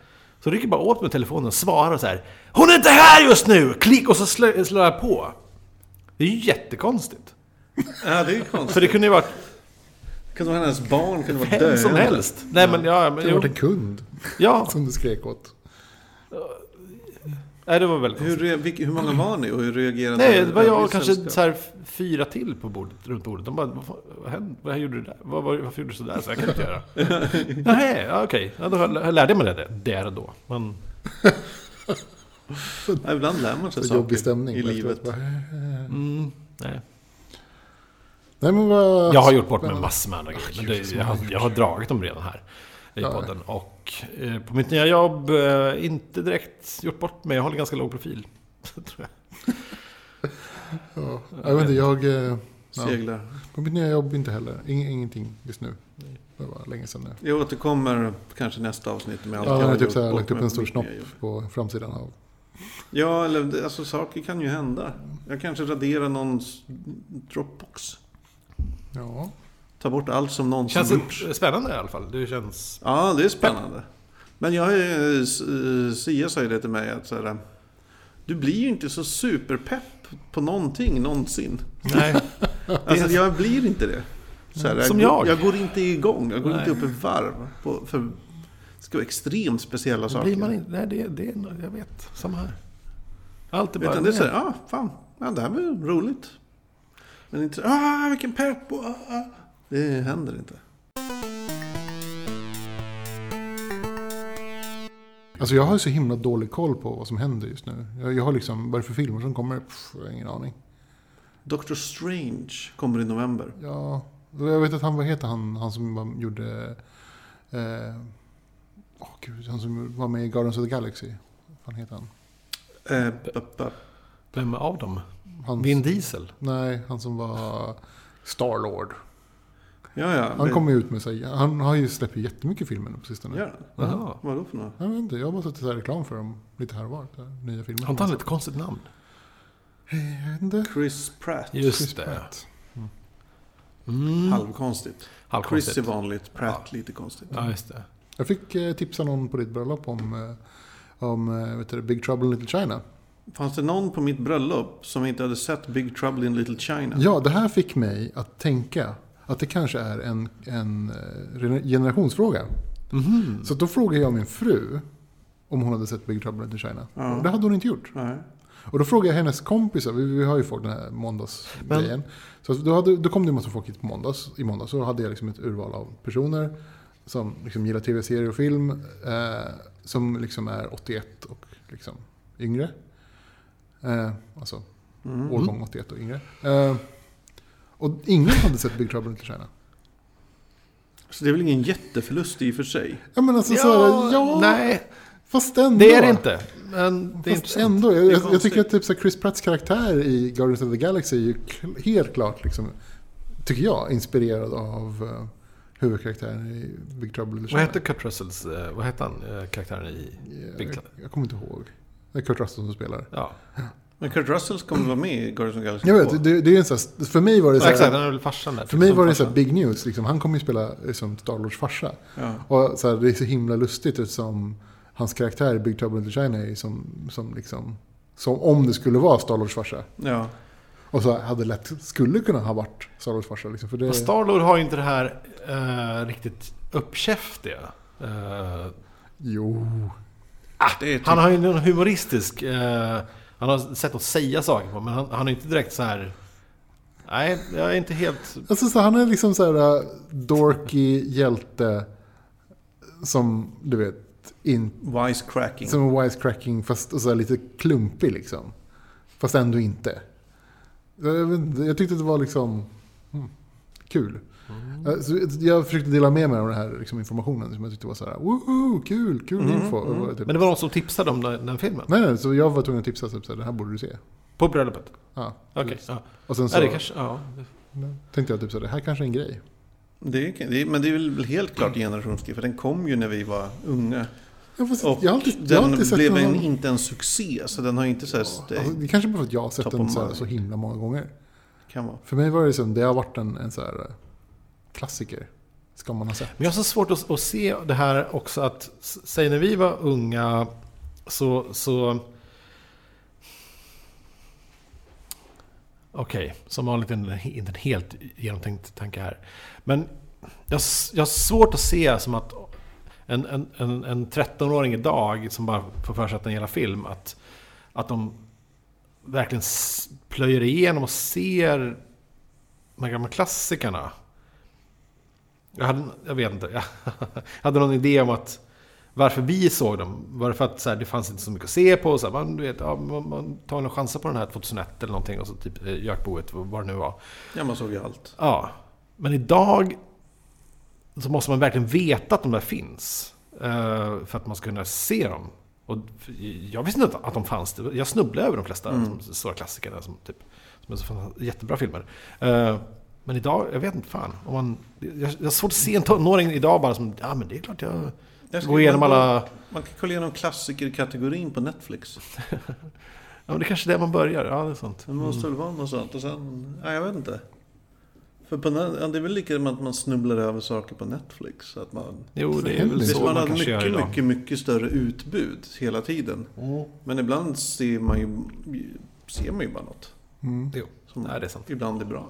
Så rycker jag bara åt mig telefonen och svarar så här. Hon är inte här just nu! Klick! Och så slö, slår jag på. Det är ju jättekonstigt.
Ja, det är ju
För
konstigt.
det kunde ju varit
Kunde vara hennes barn, kunde vara
vem
döende.
som helst. Nej men ja,
Det
men,
har
jo.
varit en kund
ja.
som du skrek åt.
Nej, det var väldigt
Hur,
konstigt.
re, vilk, hur många var ni och hur reagerade
Nej, det var jag och
övrig
kanske
sällskap?
så här fyra till på bordet, runt bordet. De bara, vad, fan- vad hände? Vad gjorde du där? Vad, vad, varför gjorde du sådär? Så jag kan inte [LAUGHS] göra. Nej, ja, okej. Ja, då höll- jag lärde mig det där- där och då. Men, typ-
Ja, ibland lär man sig
Så
saker
jobbig stämning.
i
på
livet.
efteråt. Bara,
nej.
Nej, men vad...
Jag har gjort bort mig massor med andra grejer. Men det, jag, har, jag har dragit dem redan här i
Ja.
podden. Och eh, på mitt nya jobb, eh, inte direkt gjort bort mig. Jag håller ganska låg profil. [LAUGHS] tror jag.
Ja, jag vet inte, jag... eh, Ja,
Seglar.
på mitt nya jobb inte heller. Ing, ingenting just nu. Det var länge sedan nu.
Jag återkommer kanske nästa avsnitt med allt
Ja,
jag
han har
har
typ
gjort
så här,
bort
lagt upp
med
en stor
mitt
snopp
nya jobb.
på framsidan av...
Ja, eller det- alltså saker kan ju hända. Jag kanske raderar någons Dropbox.
Ja.
Ta bort allt som någonsin
Känns
gjorts.
det spännande i alla fall. Det känns...
Ja, det är spännande. Men jag har ju, eh, Sia sa ju det till mig att så här, du blir ju inte så superpepp på någonting någonsin.
Nej.
Alltså jag blir inte det. Så här,
Som
jag.
jag.
Jag går inte igång, jag går
Nej.
inte upp i varv. På, för det ska vara extremt speciella saker.
[LAUGHS] Blir man inte, nej, det, det är nog- jag vet. Samma här. Allt är bara...
Utan det är så här, ja, fan, ja, det här var ju roligt. Men inte så här, ah, vilken pepp! och, ah, ah." Det händer inte.
Alltså jag har ju så himla dålig koll på vad som händer just nu. Jag, jag har liksom, vad är det för filmer som kommer? Pff, jag har ingen aning.
Doctor Strange kommer i november.
Ja, jag vet att han, vad heter han, han som var- gjorde... Åh eh, åh gud, han som var med i Guardians of the Galaxy. Vad fan heter han?
Eh, ba- ba-
Vem av dem?
Hans,
Vin Diesel?
Nej, han som var Starlord.
ja, ja.
Han kommer ju ut med sig, han har ju släppt jättemycket filmer nu på sistone.
Ja,
Jaha.
vad då för något?
Jag vet inte, jag har bara sett så här reklam för dem lite här och var. Så här, nya filmer.
Har inte han ett konstigt namn?
Jag vet inte.
Chris Pratt.
Just
Chris
det.
Pratt.
Halvkonstigt.
Halvkonstigt.
Chris är vanligt, Pratt lite konstigt.
Ja, just det.
Jag fick eh, tipsa någon på ditt bröllop om, eh, om eh, vet du, Big Trouble in Little China.
Fanns det någon på mitt bröllop som inte hade sett Big Trouble in Little China?
Ja, det här fick mig att tänka att det kanske är en, en eh, gener- generationsfråga. Så då frågade jag min fru om hon hade sett Big Trouble in Little China. Och Det hade hon inte gjort.
Nej.
Och då frågade jag hennes kompisar, vi, vi har ju fått den här måndagsgrejen. Så att då, hade, då kom det en massa folk hit på måndags, i måndags och då hade jag liksom ett urval av personer som liksom gillar tv-serier och film, eh, som liksom är 81 och liksom yngre. Eh, alltså
Mm.
årgång 81 och yngre. Eh, och ingen hade sett Big Trouble in Little China.
Så det är väl ingen jätteförlust i och för sig?
Ja, men alltså, ja, så här, ja,
Nej,
fast ändå.
det är det inte. Men det är
Fast
intressant.
ändå, jag,
Det är
jag, jag
konstigt.
tycker att typ så här Chris Pratts karaktär i Guardians of the Galaxy är ju kl- helt klart, liksom, tycker jag, inspirerad av uh, huvudkaraktären i Big Trouble in Little
Vad hette Kurt Russells... eh, Vad hette han, eh, karaktären i Big
jag,
Trouble?
jag kommer inte ihåg. Det är Kurt Russell som spelar.
Ja,
Men Kurt Russell kommer vara med i Guardians of the Galaxy
Jag
2.
vet, det, det är en sån här, för mig var det så
exakt.
här,
Han är väl farsan där. typ,
för mig
Som
var det så
farsan.
här big news. Liksom. Han kommer ju spela liksom, Starlords farsa.
Ja.
Och så här, det är så himla lustigt eftersom hans karaktär i Big Trouble in Little China är ju som, som, liksom, som om det skulle vara Starlords farsa.
Ja.
Och så hade lätt skulle kunna ha varit Starlords farsa. Liksom, för det,
Men Starlord har ju inte det här eh, riktigt uppkäftiga. eh,
Jo.
Det är typ,
han har ju någon humoristisk... eh, han har sätt att säga saker på, men han, han är inte direkt så här... Nej, jag är inte helt...
Alltså, så han är liksom så här äh, dorky hjälte som du vet, in,
Mm.
wisecracking.
som är wisecracking fast och så här lite klumpig liksom. Fast ändå inte. Jag, vet inte, jag tyckte det var liksom mm, kul.
Mm.
Äh, Så jag försökte dela med mig av den här liksom, informationen som jag tyckte var så här, woho, kul, kul info. Och typ-
Mm. Men det var någon som tipsade om den, den filmen?
Nej, nej, så jag var tvungen att tipsa, typ, så här, det här borde du se.
På bröllopet?
Ja.
Okej. ja.
Och sen
Ja,
så
det kanske... Ja.
tänkte jag typ så här, det här kanske är en grej.
Det är, det är, men det är väl helt klart generationsskifte. Den kom ju när vi var unga.
Ja, fast
Och
jag har alltid, jag har
den
alltid sett
blev
någon...
en, inte en succé, så den har inte så här...
Alltså,
det
det kanske bara för att jag har sett
Top
den
of
så, här,
mind.
så himla många gånger.
kan vara.
För mig var det liksom, det har varit en, en så här eh, klassiker. Ska man ha sett.
Men jag har så svårt att, att se det här också att, s- säg när vi var unga så... så Okej, som vanligt en- inte en helt genomtänkt tanke här. Men jag, s- jag har svårt att se som att en, en, en, en 13-åring idag som bara får för sig att den gillar film, att, att de verkligen s- plöjer igenom och ser de här gamla klassikerna. Jag, hade, jag vet inte. Jag [LAUGHS] hade någon idé om att varför vi såg dem. Var det för att så här, det fanns inte så mycket att se på? Så här, man, du vet, ja, man, man tar en chans på den här 2001 eller någonting. Och så typ eh, Jökboet, vad det nu var.
Ja, man såg ju allt.
Ja. Men idag så måste man verkligen veta att de där finns. eh, För att man ska kunna se dem. Och jag visste inte att de fanns. Det var- Jag snubblade över de flesta mm. stora klassikerna som, typ, som är så fan- jättebra filmer. Eh, Men idag, jag vet inte fan. Om man, jag, jag har svårt att se en tonåring idag bara som, ja men det är klart jag
Jag ska-
går igenom alla...
Man kan kolla igenom klassikerkategorin på Netflix.
Ja men det är kanske är där man börjar. Ja det är sant.
Det måste
Mm.
väl vara något sånt. Och sen, ja, jag vet inte. För på, Net- ja, det är väl lika med att man snubblar över saker på Netflix. så Att man,
Jo det är väl
Visst,
Visst,
så man,
man har
kanske gör
mycket,
idag.
mycket, mycket större utbud hela tiden.
Mm.
Men ibland ser man ju, ser man ju bara något.
Jo,
Som
nej, det är sant.
ibland är bra.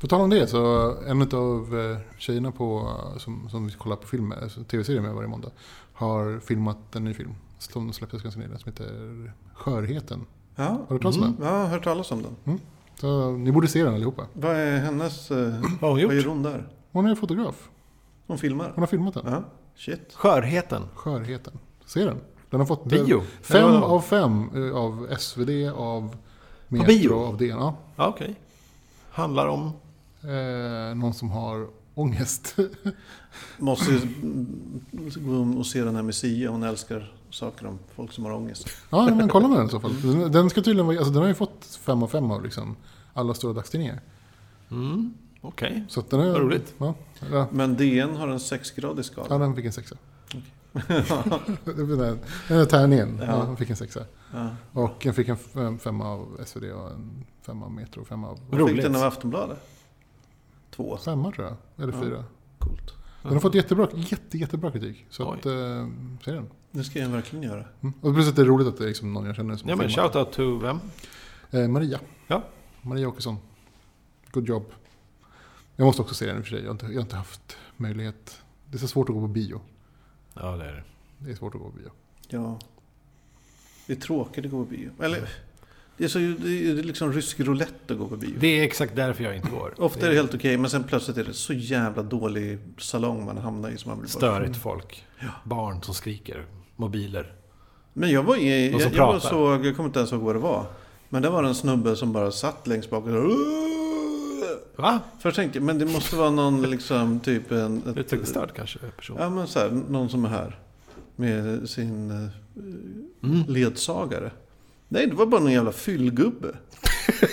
På tal om det så en av tjejerna på, som, som vi kollar på film, med, alltså tv-serier med varje måndag har filmat en ny film som släpptes ganska nyligen som heter Skörheten.
Ja,
Har du hört talas om
Mm.
jag har hört talas om den.
den? Så, ni borde se den allihopa.
Vad är hennes... eh,
Vad har hon
Vad gör
gjort?
hon där?
Hon är fotograf.
Hon filmar?
Hon har filmat den.
Ja, shit.
Skörheten.
Skörheten. Se den. Den har fått eh,
Bio?
fem
Ja.
av fem eh, av SvD, av Metro,
bio?
av DN. Ja.
Ja okej. Handlar om...
Eh, någon som har ångest. [LAUGHS]
Måste ju mm, gå och se den här med Sia. Hon älskar saker om folk som har ångest.
ja, men kolla med den i så fall. Den, den, ska tydligen, vara- alltså, den har ju fått fem av fem av liksom, alla stora dagstidningar.
Mm, okej.
Så att den är,
Vad roligt.
Ja, ja.
Men DN har en sexgradig
ja,
skala.
den fick en sexa. [LAUGHS] den där- den där tärningen. Ja. den fick en sexa.
Ja.
Och den fick en f- femma av SvD och en femma av Metro. Femma av...
Hon
Roligt.
fick den av Aftonbladet. Två.
Femma tror jag. Eller
Ja.
fyra.
Coolt.
Den har fått jättebra, jätte, jättebra kritik. Så
Mm. Oj.
att, eh, se den.
Det ska jag verkligen göra.
Mm. Och plus att det är roligt att det är liksom någon jag känner som
Ja men
filmar.
shoutout to vem?
eh, Maria.
Ja.
Maria Åkesson. Good job. Jag måste också se den i och för sig. Jag har, inte, jag har inte haft möjlighet. Det är så svårt att gå på bio.
Ja det är det.
Det är svårt att gå på bio.
Ja. Det är tråkigt att gå på bio. Eller, det är, så, det är ju liksom rysk roulette att gå på bio.
Det är exakt därför jag inte går.
Ofta är det helt okej, men sen plötsligt är det så jävla dålig salong man hamnar i. Som man blir bara-
Störigt folk. Barn som skriker. Mobiler.
Men jag var i,
Och
jag,
som
jag, var
pratar.
såg, jag kommer inte ens ihåg vad det var. Men det var en snubbe som bara satt längst bak och så-
Va?
Först tänkte jag, men det måste vara någon liksom typ en... ett-
Utvecklingsstörd kanske person.
Ja men så här, någon som är här. Med sin eh,
Mm.
ledsagare. Nej, det var bara någon jävla
[LAUGHS]
fyllgubbe.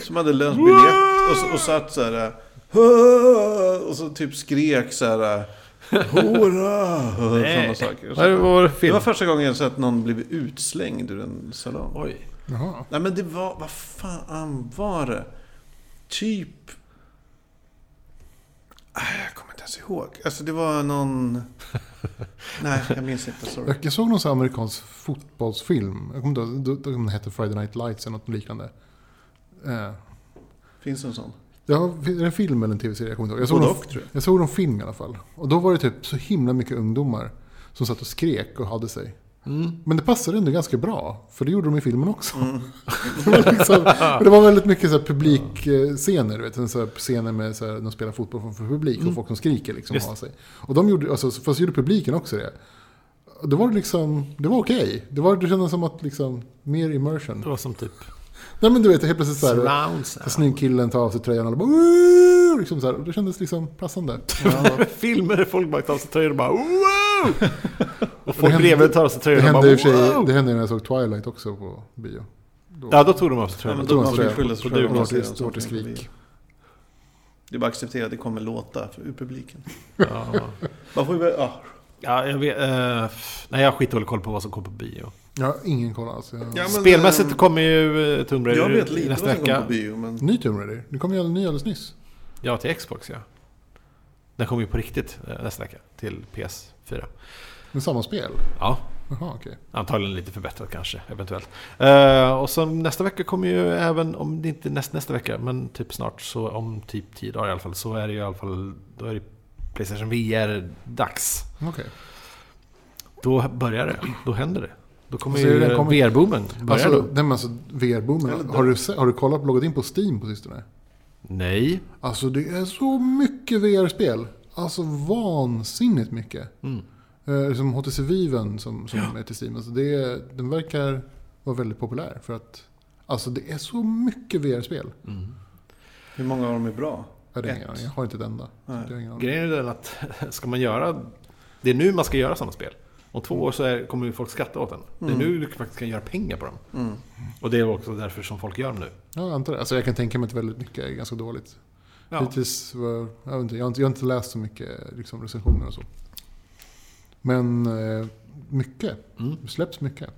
som hade löst biljett och, så- och satt så här. "Åh!" Och så typ skrek så här. Hora! Och sådana saker.
Vad är det vår film?
Det var första gången jag sett att någon blev utslängd ur en salong.
Oj.
Jaha.
Nej men det var, vad fan var det? Typ... Ah, Jag kommer inte ens ihåg. Alltså det var någon... Nej, jag minns inte. Sorry.
Jag, jag såg någon sån här amerikansk fotbollsfilm. Jag kommer inte ihåg. Den hette Friday Night Lights eller något liknande. Eh,
Finns det en sån?
Ja, är det en film eller en tv-serie? Jag kommer inte ihåg. Jag såg,
Både
någon,
och, tror jag.
jag såg någon film i alla fall. Och då var det typ så himla mycket ungdomar som satt och skrek och hade sig.
Mm.
Men det passade ändå ganska bra, för det gjorde de i filmen också. [LAUGHS] det, var liksom, och det var väldigt mycket så här publikscener, du vet, en så här scener med så här, de spelar fotboll för- för publik
Mm.
och folk som skriker liksom och
Just.
har sig. Och de gjorde, alltså, fast gjorde publiken också det. Och det var liksom, det var okej. Det var Det kändes som att liksom, mer immersion.
Det var som typ
Nej men du vet, helt plötsligt så här,
surround
[LAUGHS] så
sound.
snygg killen tar av sig tröjan och alla bara "Ooh!" liksom så här. Och Det kändes liksom passande.
Filmer där folk bara tar av sig tröjor och bara wow! Och
Det
folk
hände-
bredvid tar av sig
Det
tröjor och bara
hände, i och för sig,
wow!
det hände när jag såg Twilight också på bio.
Ja, då tog de av sig
Nej, men
tröjorna.
då
tror
man
jag
skulle skylla
det.
sig
Och du
själv. om man
Snart
ser
är
en sån
snart är
film på
skrik.
bio. Det är bara att acceptera att det kommer låta ur publiken.
Ja.
Man får ju... ah. Ja.
Ja, jag vet, eh, f- nej, jag har skitdålig koll på vad som kommer på bio.
Jag har ingen koll alls. Jag...
Ja, men,
Spelmässigt
ehm,
kommer ju eh, Tomb Raider
Jag vet lite
nästa
vad som kommer
vecka.
på bio, men...
Ny Tomb Raider. Det kom ju en ny alldeles nyss.
Ja, till Xbox ja. Den kommer ju på riktigt eh, nästa vecka till PS4.
Med samma spel.
Ja,
Jaha, okej.
antagligen lite förbättrat kanske, eventuellt. Eh, och sen nästa vecka kommer ju även, om det inte är näst, nästa vecka, men typ snart, så om typ 10 dagar i alla fall, så är det ju i alla fall, då är det Playstation VR-dags.
Okej.
Då börjar det, då händer det. Då kommer
Alltså,
ju
den kommer-
VR-boomen börja
Alltså,
då.
nej, men alltså VR-boomen. Har du, se- har du kollat, loggat in på Steam på sistone?
Nej,
Alltså det är så mycket VR-spel. Alltså vansinnigt mycket.
Mm.
Eh, som HTC Viven som, som är till Steam. Alltså, det, är- den verkar vara väldigt populär. För att alltså det är så mycket VR-spel.
Hur många av dem är bra?
Jag, har ingen
Mm. Ett.
aning. jag har inte ett enda. Så
Nej.
jag har ingen aning.
grejen är den att [LAUGHS] ska man göra, det är nu man ska göra sådana spel. Om två år så är, kommer ju folk skratta åt den.
Mm.
Det är nu du faktiskt kan göra pengar på dem. Och det är också därför som folk gör dem nu.
Ja, jag antar det. Alltså, jag kan tänka mig att väldigt mycket är ganska dåligt.
Ja.
Hittills var, jag, vet inte, jag, har inte, jag har inte läst så mycket liksom, recensioner och så. Men eh, mycket.
Mm.
Det släpps mycket.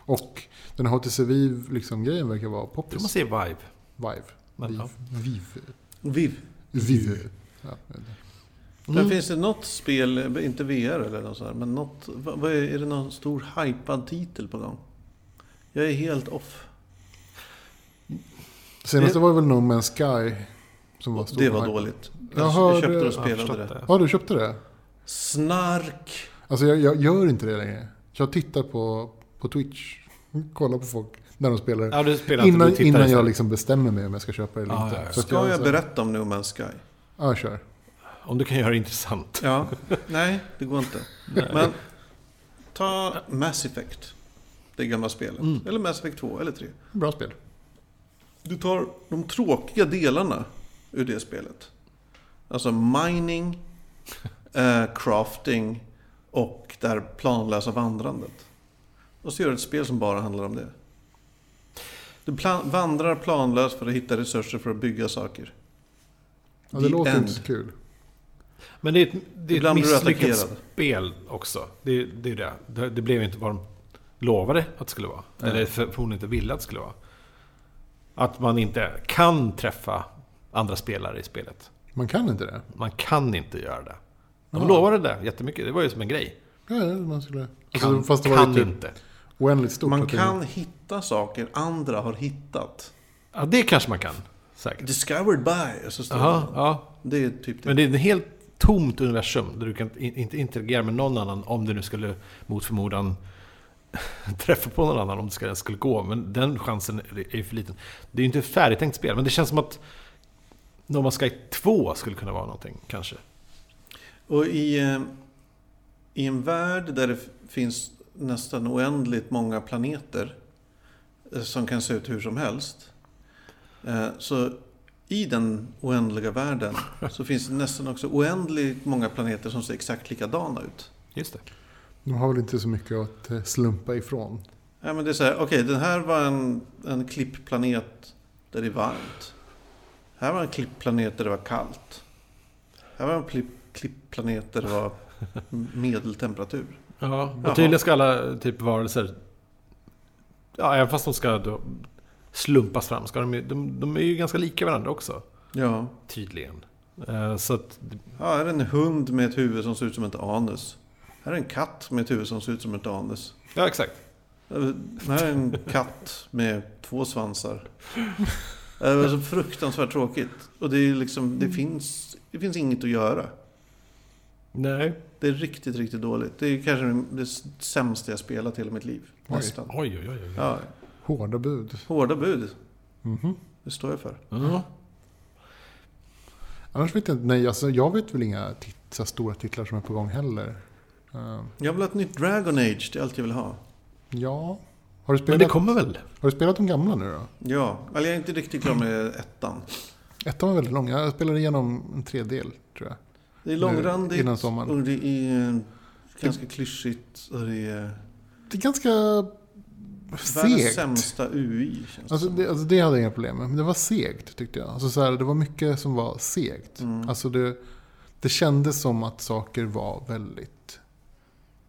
Och den här HTC Vive liksom, grejen verkar vara
Jag tror man
poppis.
säger vibe.
Vive.
Men,
Vive.
ja.
Vive.
Viv.
Vive. Ja, jag vet inte.
Men finns det något spel, inte VR eller något sånt, här, men något, vad, vad är, är det någon stor hypad titel på gång? Jag är helt off.
Senaste var väl No Man's Sky. Som var stor
det var
hype.
dåligt.
Jag
Jag,
hörde-
köpte och
jag har
spelade
förstått
det.
Ja, du köpte det?
Snark!
Alltså jag, jag gör inte det längre. Jag tittar på, på Twitch. Kollar på folk när de spelar.
Ja, du spelar inte, du
Innan,
tittar
innan jag
istället.
liksom bestämmer mig om jag ska köpa det eller
Ja,
inte.
ja, ja.
Så att
Ska jag
så-
berätta om No Man's Sky?
Ja, kör.
Om du kan göra det intressant.
Ja,
[LAUGHS]
nej det går inte. Men ta Mass Effect. Det gamla spelet. Eller Mass Effect 2 eller 3.
Bra spel.
Du tar de tråkiga delarna ur det spelet. Alltså mining, eh, crafting och det här planlösa vandrandet. Och så gör du ett spel som bara handlar om det. Du plan- vandrar planlöst för att hitta resurser för att bygga saker.
Ja, det
The
låter
end.
inte så kul.
Men det är ett, det är ett
Ibland blir du
misslyckat
attackerad.
spel också. Det, det är det. det. Det blev ju inte vad de lovade att det skulle vara. Eller för- förmodligen inte ville att det skulle vara. Att man inte kan träffa andra spelare i spelet.
Man kan inte det.
Man kan inte göra det. De
Ja.
lovade det jättemycket. Det var ju som en grej.
Ja, ja, man skulle...
Kan,
alltså, fast det var
kan
ju typ
inte.
oändligt stort.
Man
att det-
kan hitta saker andra har hittat.
Ja, det kanske man kan. Säkert.
Discovered by. Och så står
Aha,
det.
ja.
Det är typ det.
Men det är ett helt tomt universum där du kan in- inte interagera med någon annan om du nu skulle mot förmodan [LAUGHS] träffa på någon annan om det ska- skulle gå. Men den chansen är ju för liten. Det är ju inte ett färdigtänkt spel, men det känns som att No Man's Sky 2 skulle kunna vara någonting, kanske.
Och i, eh, i en värld där det f- finns nästan oändligt många planeter eh, som kan se ut hur som helst. eh, Så i den oändliga världen så finns det nästan också oändligt många planeter som ser exakt likadana ut.
Just det.
De har väl inte så mycket att eh, slumpa ifrån.
Ja, men det är så här, okej den här var en, en klippplanet där det är varmt. Här var en klippplanet där det var kallt. Här var en pli- klippplanet där det var m- medeltemperatur.
Ja, och
Jaha.
tydligen ska alla typ varelser, ja, även fast de ska då slumpas fram, ska de, ju- de, de är ju ganska lika varandra också,
Ja.
tydligen. Eh, Så att
Ja, här är en hund med ett huvud som ser ut som ett anus. Här är en katt med ett huvud som ser ut som ett anus.
Ja, exakt.
Eh, Här är en katt med två svansar. Det var så fruktansvärt tråkigt. Och det, är liksom, det, finns, det finns inget att göra.
Nej.
Det är riktigt, riktigt dåligt. Det är kanske det sämsta jag spelat hela mitt liv.
Oj.
Nästan.
Oj, oj, oj. oj.
Ja,
Hårda bud.
hårda bud.
Mhm.
Det står jag för.
Ja.
Annars vet jag inte. Nej, alltså, jag vet väl inga tit- så här stora titlar som är på gång heller. Eh,
Jag vill ha ett nytt Dragon Age. Det är allt jag vill ha.
ja. Har du,
Men
spelat,
det kommer väl?
har du spelat de gamla nu då?
Ja, eller jag är inte riktigt klar med ettan.
Ettan var väldigt lång. Jag spelade igenom en tredjedel, tror jag.
Det är långrandigt
innan sommaren.
och det är eh, ganska klyschigt och det är
Det är ganska
världens
segt.
sämsta UI. Känns
Alltså
som.
det, alltså det hade jag inga problem med, men det var segt tyckte jag. Alltså så här, det var mycket som var
Mm.
segt. Alltså det, det kändes som att saker var väldigt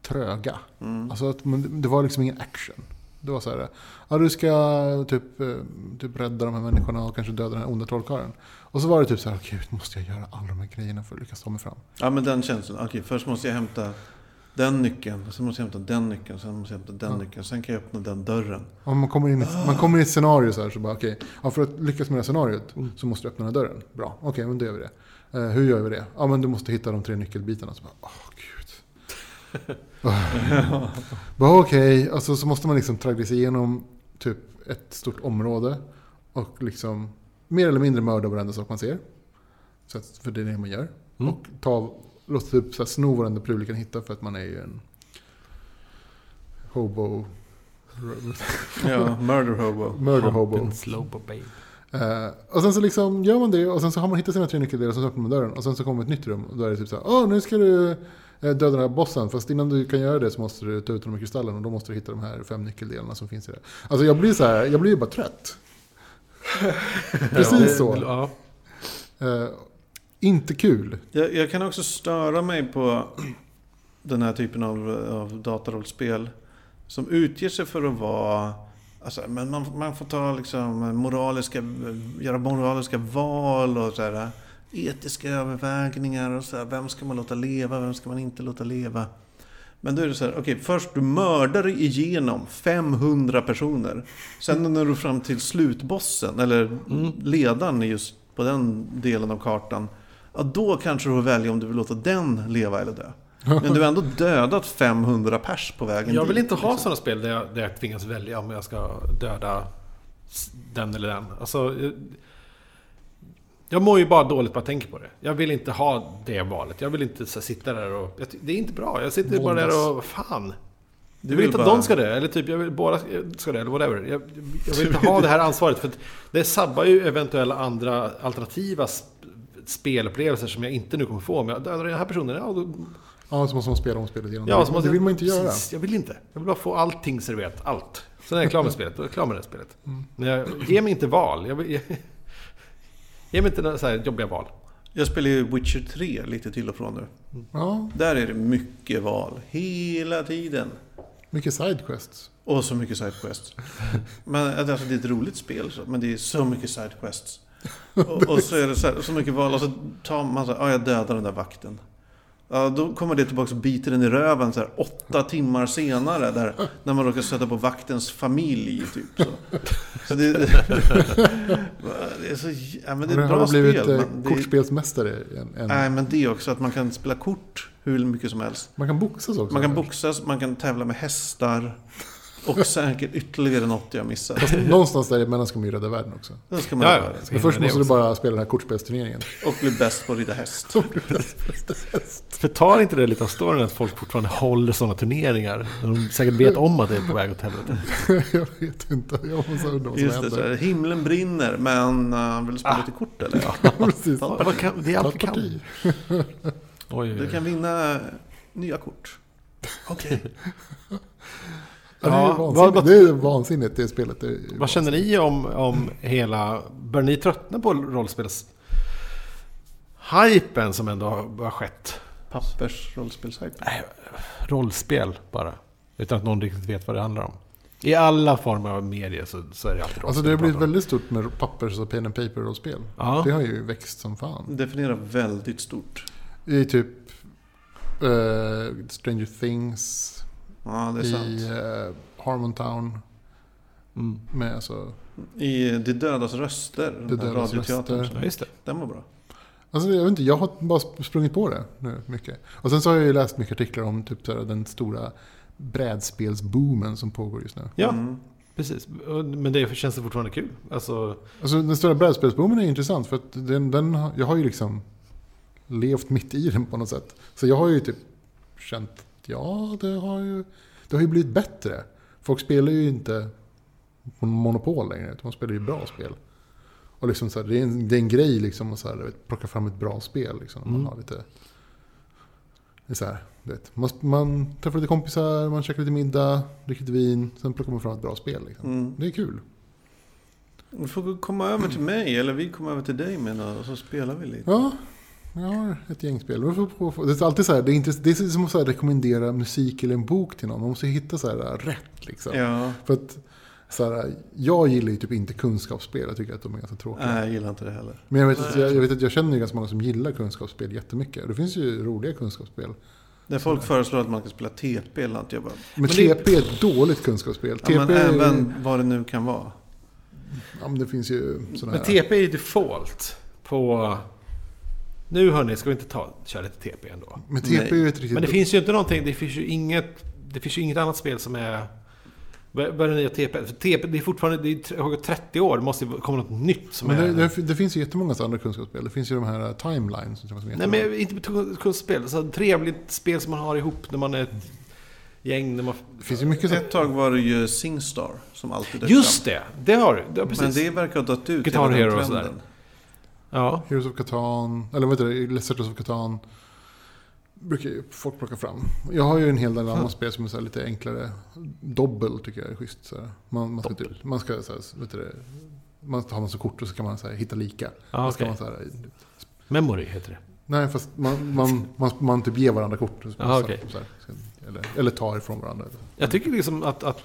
tröga.
Mm.
Alltså att man, det var liksom ingen action. Det var så här, ja du ska typ, eh, typ rädda de här människorna och kanske döda den här onda trollkarlen. Och så var det typ så här, gud måste jag göra alla de här grejerna för att lyckas ta mig fram.
Ja, men den känslan. Okej, först måste jag hämta den nyckeln. Sen måste jag hämta den nyckeln. Sen måste jag hämta den nyckeln. Sen kan jag öppna den dörren.
Om man kommer in i, man kommer in i ett scenario så här, så bara okej, ja, för att lyckas med det här scenariot så måste du öppna den här dörren. Bra, okej, men då gör vi det. Eh, hur gör vi det? Ja, men du måste hitta de tre nyckelbitarna. Så bara, åh gud. bara okej, alltså, så måste man liksom traggla sig igenom typ ett stort område och liksom mer eller mindre mörda varenda sak man ser. Så att, för det är det man gör.
Mm.
Och ta, låta typ så här, sno varenda prul du kan hitta för att man är ju en hobo.
Ja, murder hobo.
Murder hobo.
Pumpin' Slobo babe.
Eh, och sen så liksom gör man det och sen så har man hittat sina tre nyckeldelar och så öppnar man dörren och sen så kommer ett nytt rum och då är det typ så här, åh nu ska du eh, döda den här bossen fast innan du kan göra det så måste du ta ut de här kristallerna och då måste du hitta de här fem nyckeldelarna som finns i det. Alltså jag blir så här, jag blir ju
[LAUGHS]
bara trött. Precis så.
Ja.
Eh, inte kul.
Jag, jag kan också störa mig på den här typen av, av datarollspel. Som utger sig för att vara... Alltså, men man, man får ta liksom moraliska, göra moraliska val och så här, etiska övervägningar. Och så här, vem ska man låta leva? Vem ska man inte låta leva? Men då är det så här, okej, först du mördar dig igenom 500 personer. Sen när du är fram till slutbossen, eller
Mm.
ledaren just på den delen av kartan. Ja, då kanske du får välja om du vill låta den leva eller dö. Men du har ändå dödat 500 pers på vägen
Jag vill
dit,
inte ha
liksom.
sådana spel där jag, där jag tvingas välja om jag ska döda s- den eller den. Alltså, jag, jag mår ju bara dåligt bara jag tänker på det. Jag vill inte ha det valet. Jag vill inte så, här sitta där och... Jag, ty- det är inte bra. Jag sitter bara där och... Fan!
Du
Jag vill inte att de ska dö, eller typ jag vill båda ska dö, eller whatever. Jag, jag- jag vill inte ha det här ansvaret, för att det sabbar ju eventuella andra alternativa sp- spelupplevelser som jag inte nu kommer få. Om jag dödar den här personen, ja, då,
Ja, så måste man spela om spelet igen.
ja
Ja,
så måste
det
jag-
vill man inte göra.
Precis, jag vill inte. Jag vill bara få allting serverat, allt. Sen är jag klar med spelet, då är jag klar med det här spelet. Men jag, ge mig inte val. Jag, vill- [LAUGHS] ge mig inte några så här jobbiga val.
Jag spelar ju Witcher 3 lite till och från nu.
Ja,
Där är det mycket val, hela tiden.
mycket sidequests.
Och så mycket sidequests. Men alltså, det är ett roligt spel, så- men det är så mycket sidequests. Och, och så är det så, här, så mycket val och så tar man så här, ja jag dödar den där vakten. Ja, då kommer det tillbaka och biter den i röven så här, åtta timmar senare. Där, när man råkar stöta på vaktens familj. Typ, så. Så det, det är så... Ja, men det är
Har
ett
du
bra
har blivit
spel.
eh,
men det-
kortspelsmästare? Än, än,
Nej, men det också. Att man kan spela kort hur mycket som helst.
Man kan boxas också.
Man kan boxas, man kan tävla med hästar. Och säkert ytterligare något jag missar.
Någonstans däremellan ska man ju rädda världen också.
Då ska man
Ja,
göra
ska hinna
Men först
med det
måste du
också.
bara spela den här kortspelsturneringen. [LAUGHS]
det. Och bli bäst på att rida häst.
Förtar inte det lite av storyn att folk fortfarande håller sådana turneringar? När de säkert vet om att det är på väg åt helvete.
jag vet inte. Jag måste undra vad som
Just det, så här,
händer.
himlen brinner, men uh, vill du spela lite kort eller?
[LAUGHS] Precis.
Ja,
Vad kan- Det är
Ta
allt vi
ett parti.
kan. Oj,
Du kan vinna eh, nya kort.
Okej.
Ja, det, är
Ja,
vansinnigt.
vad-
det är vansinnigt det spelet. Det är,
[LAUGHS] Vad känner ni om, om hela... Börjar ni tröttna på rollspels... Hypen som ändå har har skett?
Pappersrollspelssajt.
Nej, rollspel bara. Utan att någon riktigt vet vad det handlar om. I alla former av media så, så är det alltid rollspel.
alltså det har
vi
blivit
pratar om.
väldigt stort med pappers och pen and paper rollspel.
Ja.
Det har ju växt som fan.
Definiera väldigt stort.
I typ eh, Stranger Things,
Ja, det är
i
sant.
eh, Harmontown.
Mm.
Med alltså,
I eh, Det dödas röster, den
Det
där
dödas
radioteatern.
röster.
Ja, just det.
Den var bra.
alltså jag vet inte, jag har bara sprungit på det nu mycket. Och sen så har jag ju läst mycket artiklar om typ så här, den stora brädspelsboomen som pågår just nu.
Ja,
Mm.
precis. Och- Men det känns det fortfarande kul. Alltså,
Alltså den stora brädspelsboomen är intressant för att den, den, har- jag har ju liksom levt mitt i den på något sätt. Så jag har ju typ känt att ja, det har ju, det har ju blivit bättre. Folk spelar ju inte på monopol längre, utan de spelar ju bra spel. Och liksom så här, det, är en, det är en grej liksom att så här, du vet, plocka fram ett bra spel. Liksom, man
Mm.
har lite... Det är så här, du vet, man, man träffar lite kompisar, man käkar lite middag, dricker lite vin, sen plockar man fram ett bra spel. Liksom.
Mm.
Det är kul.
Du får komma över till mig, eller vi kommer över till dig med något, och så spelar vi lite.
Ja, Jag har ett gäng spel. Men får- får- får- Det är alltid så här, det är, inte, det är som att så här rekommendera musik eller en bok till någon. Man måste ju hitta så här rätt liksom.
Ja,
För att, så här, äh, jag gillar ju typ inte kunskapsspel. Jag tycker att de är ganska tråkiga.
nej, jag gillar inte det heller.
Men jag vet, att, jag, jag vet att jag känner ju ganska många som gillar kunskapsspel jättemycket. Det finns ju roliga kunskapsspel.
När folk föreslår att man kan spela TP eller något, jag bara...
Men, TP är ett dåligt kunskapsspel.
Ja, men
TP är-
även vad det nu kan vara.
Ja, men det finns ju sådana
Men
här...
TP är ju default på... Nu hörni, ska vi inte ta, köra lite TP ändå?
Men TP är ju ett riktigt...
Men det finns ju inte någonting, det finns ju inget, det finns ju inget annat spel som är... Vad vad är det nya TP? För TP, det är fortfarande, det är tre- har gått 30 år, det måste ju komma något nytt som
men
är...
det, det, det finns ju jättemånga andra kunskapsspel. Det finns ju de här timelines. Som
Nej men inte betog- kunstspel, så trevligt spel som man har ihop när man är ett gäng, när man...
Det finns ju mycket
Ett tag var det ju Singstar som alltid dök
Just det! Det har du, det har
Men
precis.
det verkar ha dött ut. hela
Guitar
den
Hero och
trenden.
sådär. Ja.
Heroes of Catan, eller vad heter det, Settlers of Catan brukar ju folk plocka fram. Jag har ju en hel del andra spel som är så här lite enklare. Dobbel tycker jag är schysst. Så här. Man, man ska, typ, man ska så här, vet du det, man har massa kort och så kan man så här, hitta lika.
Ja,
Och så kan
Ah, okej.
man så här,
Memory heter det.
nej, fast man, man, man, man typ ger varandra kort. Så
Jaha,
så här,
Ah, okej.
så här, ska- eller, eller tar ifrån varandra.
Jag tycker liksom att, att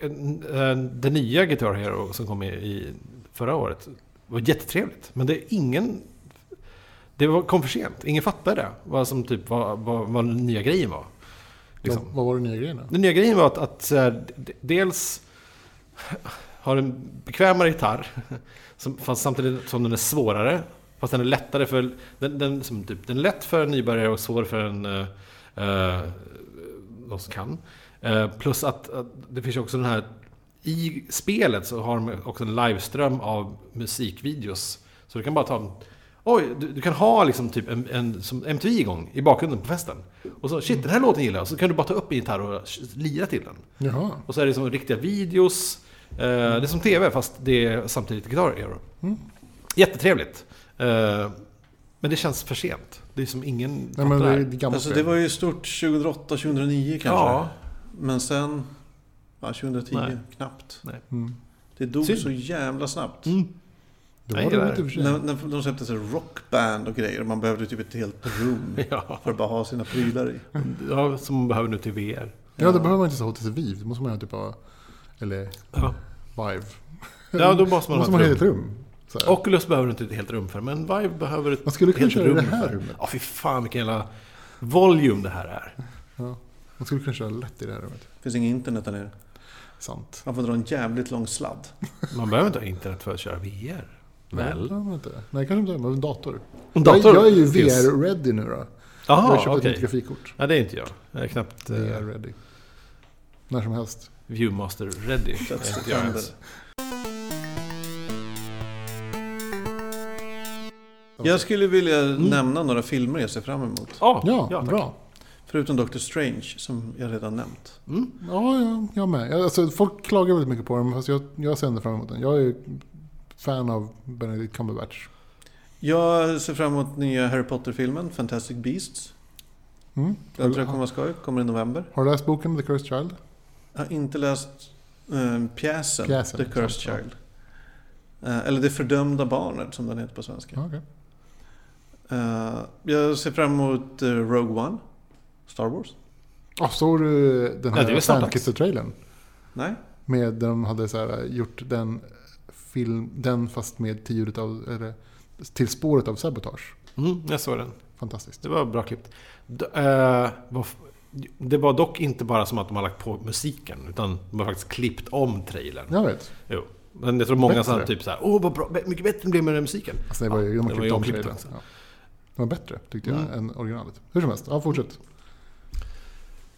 eh, det nya Guitar Hero som kom i, i förra året var jättetrevligt. Men det är ingen... Det var, kom för sent. Ingen fattade vad som typ var, vad, vad den nya grejen var. Liksom.
Vad, vad var den nya grejen då?
Den nya grejen var att, att så här, d- dels har en bekvämare gitarr, [LAUGHS] som, fast samtidigt som den är svårare. Fast den är lättare för... Den, den, som typ, den är lätt för en nybörjare och svår för en... eh, eh, de som kan. Eh, plus att, att det finns ju också den här... I spelet så har de också en liveström av musikvideos. Så du kan bara ta... en- Oj, du, du kan ha liksom typ en, en som MTV igång i bakgrunden på festen. Och så, shit, den här låten gillar jag. Så kan du bara ta upp en gitarr och lira till den.
Jaha,
Och så är det som riktiga videos. Eh, det är som TV fast det är samtidigt Guitar Hero.
Mm.
Jättetrevligt. Eh, men det känns för sent. Det är som ingen
nej, men det
fattar
är
det
ett
här.
gammalt
Alltså det
spel.
var ju stort 2008-2009 kanske.
Ja.
Men sen... Ja, 2010
Nej.
knappt.
Nej.
Mm.
Det dog
Synd.
så jävla snabbt.
Mm.
Det
Jag
var
gillar
roligt i och för sig.
När, när de släppte så här rockband och grejer och man behövde typ ett helt
[LAUGHS]
rum
[LAUGHS] Ja.
för att bara ha sina prylar i.
ja, som man behöver nu till VR.
Ja, det behöver man inte så ha till sig Vive. Det måste man ha typ av... Eller
Ja,
Vive.
ja
[LAUGHS]
då måste man
Man
ha
måste
ett
man ha
rum.
ett rum. Så här.
Oculus behöver inte ett helt rum för, men Vive behöver ett
Man skulle kunna
helt
köra i
rum
det här
för.
rummet.
Ja, fy fan vilken jävla volume det här är.
Ja. Man skulle kunna köra lätt i det här rummet.
finns inget internet där nere.
Sant.
Man får dra en jävligt lång sladd.
Man behöver inte ha internet för att köra VR.
Nej,
Väl?
det har man inte. Nej, kanske inte. Men en dator.
En dator
jag, jag är ju
finns.
VR-ready nu då. jag har
Jaha,
köpt
okej.
ett nytt grafikkort.
Ja, det är inte jag. Jag är knappt eh,
VR-ready. När som helst.
Viewmaster-ready.
Plötsligt
Jag är inte
händer
ens.
det. Jag skulle vilja nämna några filmer jag ser fram emot.
Ah,
Ja,
tack.
bra.
Förutom Doctor Strange som jag redan nämnt.
Ja, ja, jag med. Jag- Alltså, folk klagar väldigt mycket på den, fast jag, jag ser ändå fram emot den. Jag är ju fan av Benedict Cumberbatch.
Jag ser fram emot nya Harry Potter-filmen, Fantastic Beasts.
Mm.
Den tror jag kommer vara skoj, kommer i november.
Har du läst boken The Cursed Child?
Jag har inte läst eh, pjäsen, The
Pjäsen,
Cursed
sant, ja.
Child. Eh, eller Det fördömda barnet som den heter på svenska.
Ja, okej.
Eh, jag ser fram emot eh, Rogue One, Star Wars.
Ah, såg du den
Ja, det är
här
väl snart dags.
Fankisser-trailern?
Nej?
Med där de hade så här, eh, gjort den, film, den fast med till, ljudet av, eller, till spåret av sabotage.
Mm, jag såg den.
Fantastiskt.
Det var bra klippt. D- eh, vad f- det var dock inte bara som att de har lagt på musiken, utan de har faktiskt klippt om trailern.
Jag vet.
Jo. Men jag tror många sa
Bättre.
typ så här, åh vad bra, bä- mycket bättre det blev med den musiken.
Alltså det var ju, de har
det var
klippt
ju alltså. Mm. omklippt också.
om trailern. Ja. Det var bättre tyckte jag än originalet. Hur som helst, ja, fortsätt.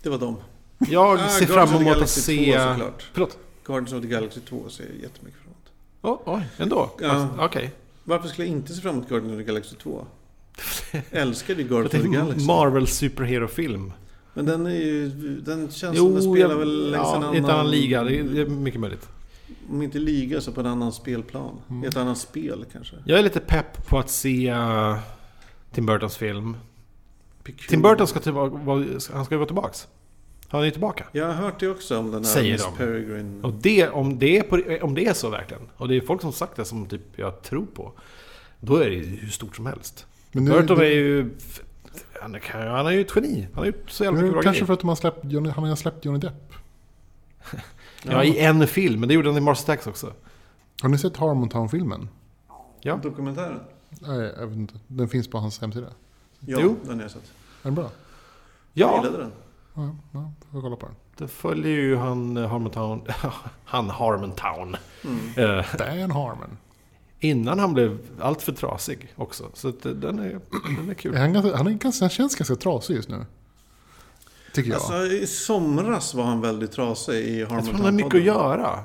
Det var dem.
Jag
Ah,
ser
Guardians of
fram
the
emot att
Galaxy
se...
2 såklart.
Förlåt?
Guardians of the Galaxy 2 ser jag jättemycket fram emot.
Oh, oj, ändå?
Ja.
Fast- Okej.
Varför skulle jag inte se fram emot Guardians of the Galaxy 2? Jag älskade ju
Jag
Guardians of the
tänkte
Galaxy.
Marvel Superhero-film.
Men den är ju... Den känns som den spelar
jag-
väl längs
ja,
en annan...
i ett annan liga. Det är, det är mycket möjligt.
Om inte liga så på en annan spelplan.
Mm.
I ett annat spel kanske.
Jag är lite pepp på att se eh, Tim Burtons film.
Picoult.
Tim Burton ska, tillbaka, han ska ju vara tillbaks. Han är ju tillbaka.
Jag har hört det också om den här
Säger
Miss
de.
Peregrine.
Och det, om, det är på, om det är så verkligen, och det är folk som sagt det som typ jag tror på, då är det ju hur stort som helst.
Men
Burton är ju... Han är, han är ju ett geni. Han har gjort så jävla
men
mycket bra
kanske
grejer.
för att de har släppt Johnny, han har släppt Johnny Depp.
Ja, i en film. Men det gjorde han i Mars Attacks också.
Har ni sett Harmontown-filmen?
Ja.
Dokumentären?
Nej, jag vet inte. Den finns på hans hemsida. Är
Ja,
Jo.
den har jag sett.
den bra?
Jag
Ja,
gillade den.
Ja, ja, får kolla på den.
då följer ju han eh, Harmontown. [LAUGHS] han Harmontown.
Mm.
Eh,
Dan Harmon.
innan han blev allt för trasig också. Så att, eh, den, är, den är
Är
kul.
Han, ganska, han, är ganska, han känns ganska trasig just nu. Tycker jag.
Alltså, I somras var han väldigt trasig i
Jag
Harmon
tror han har mycket att göra.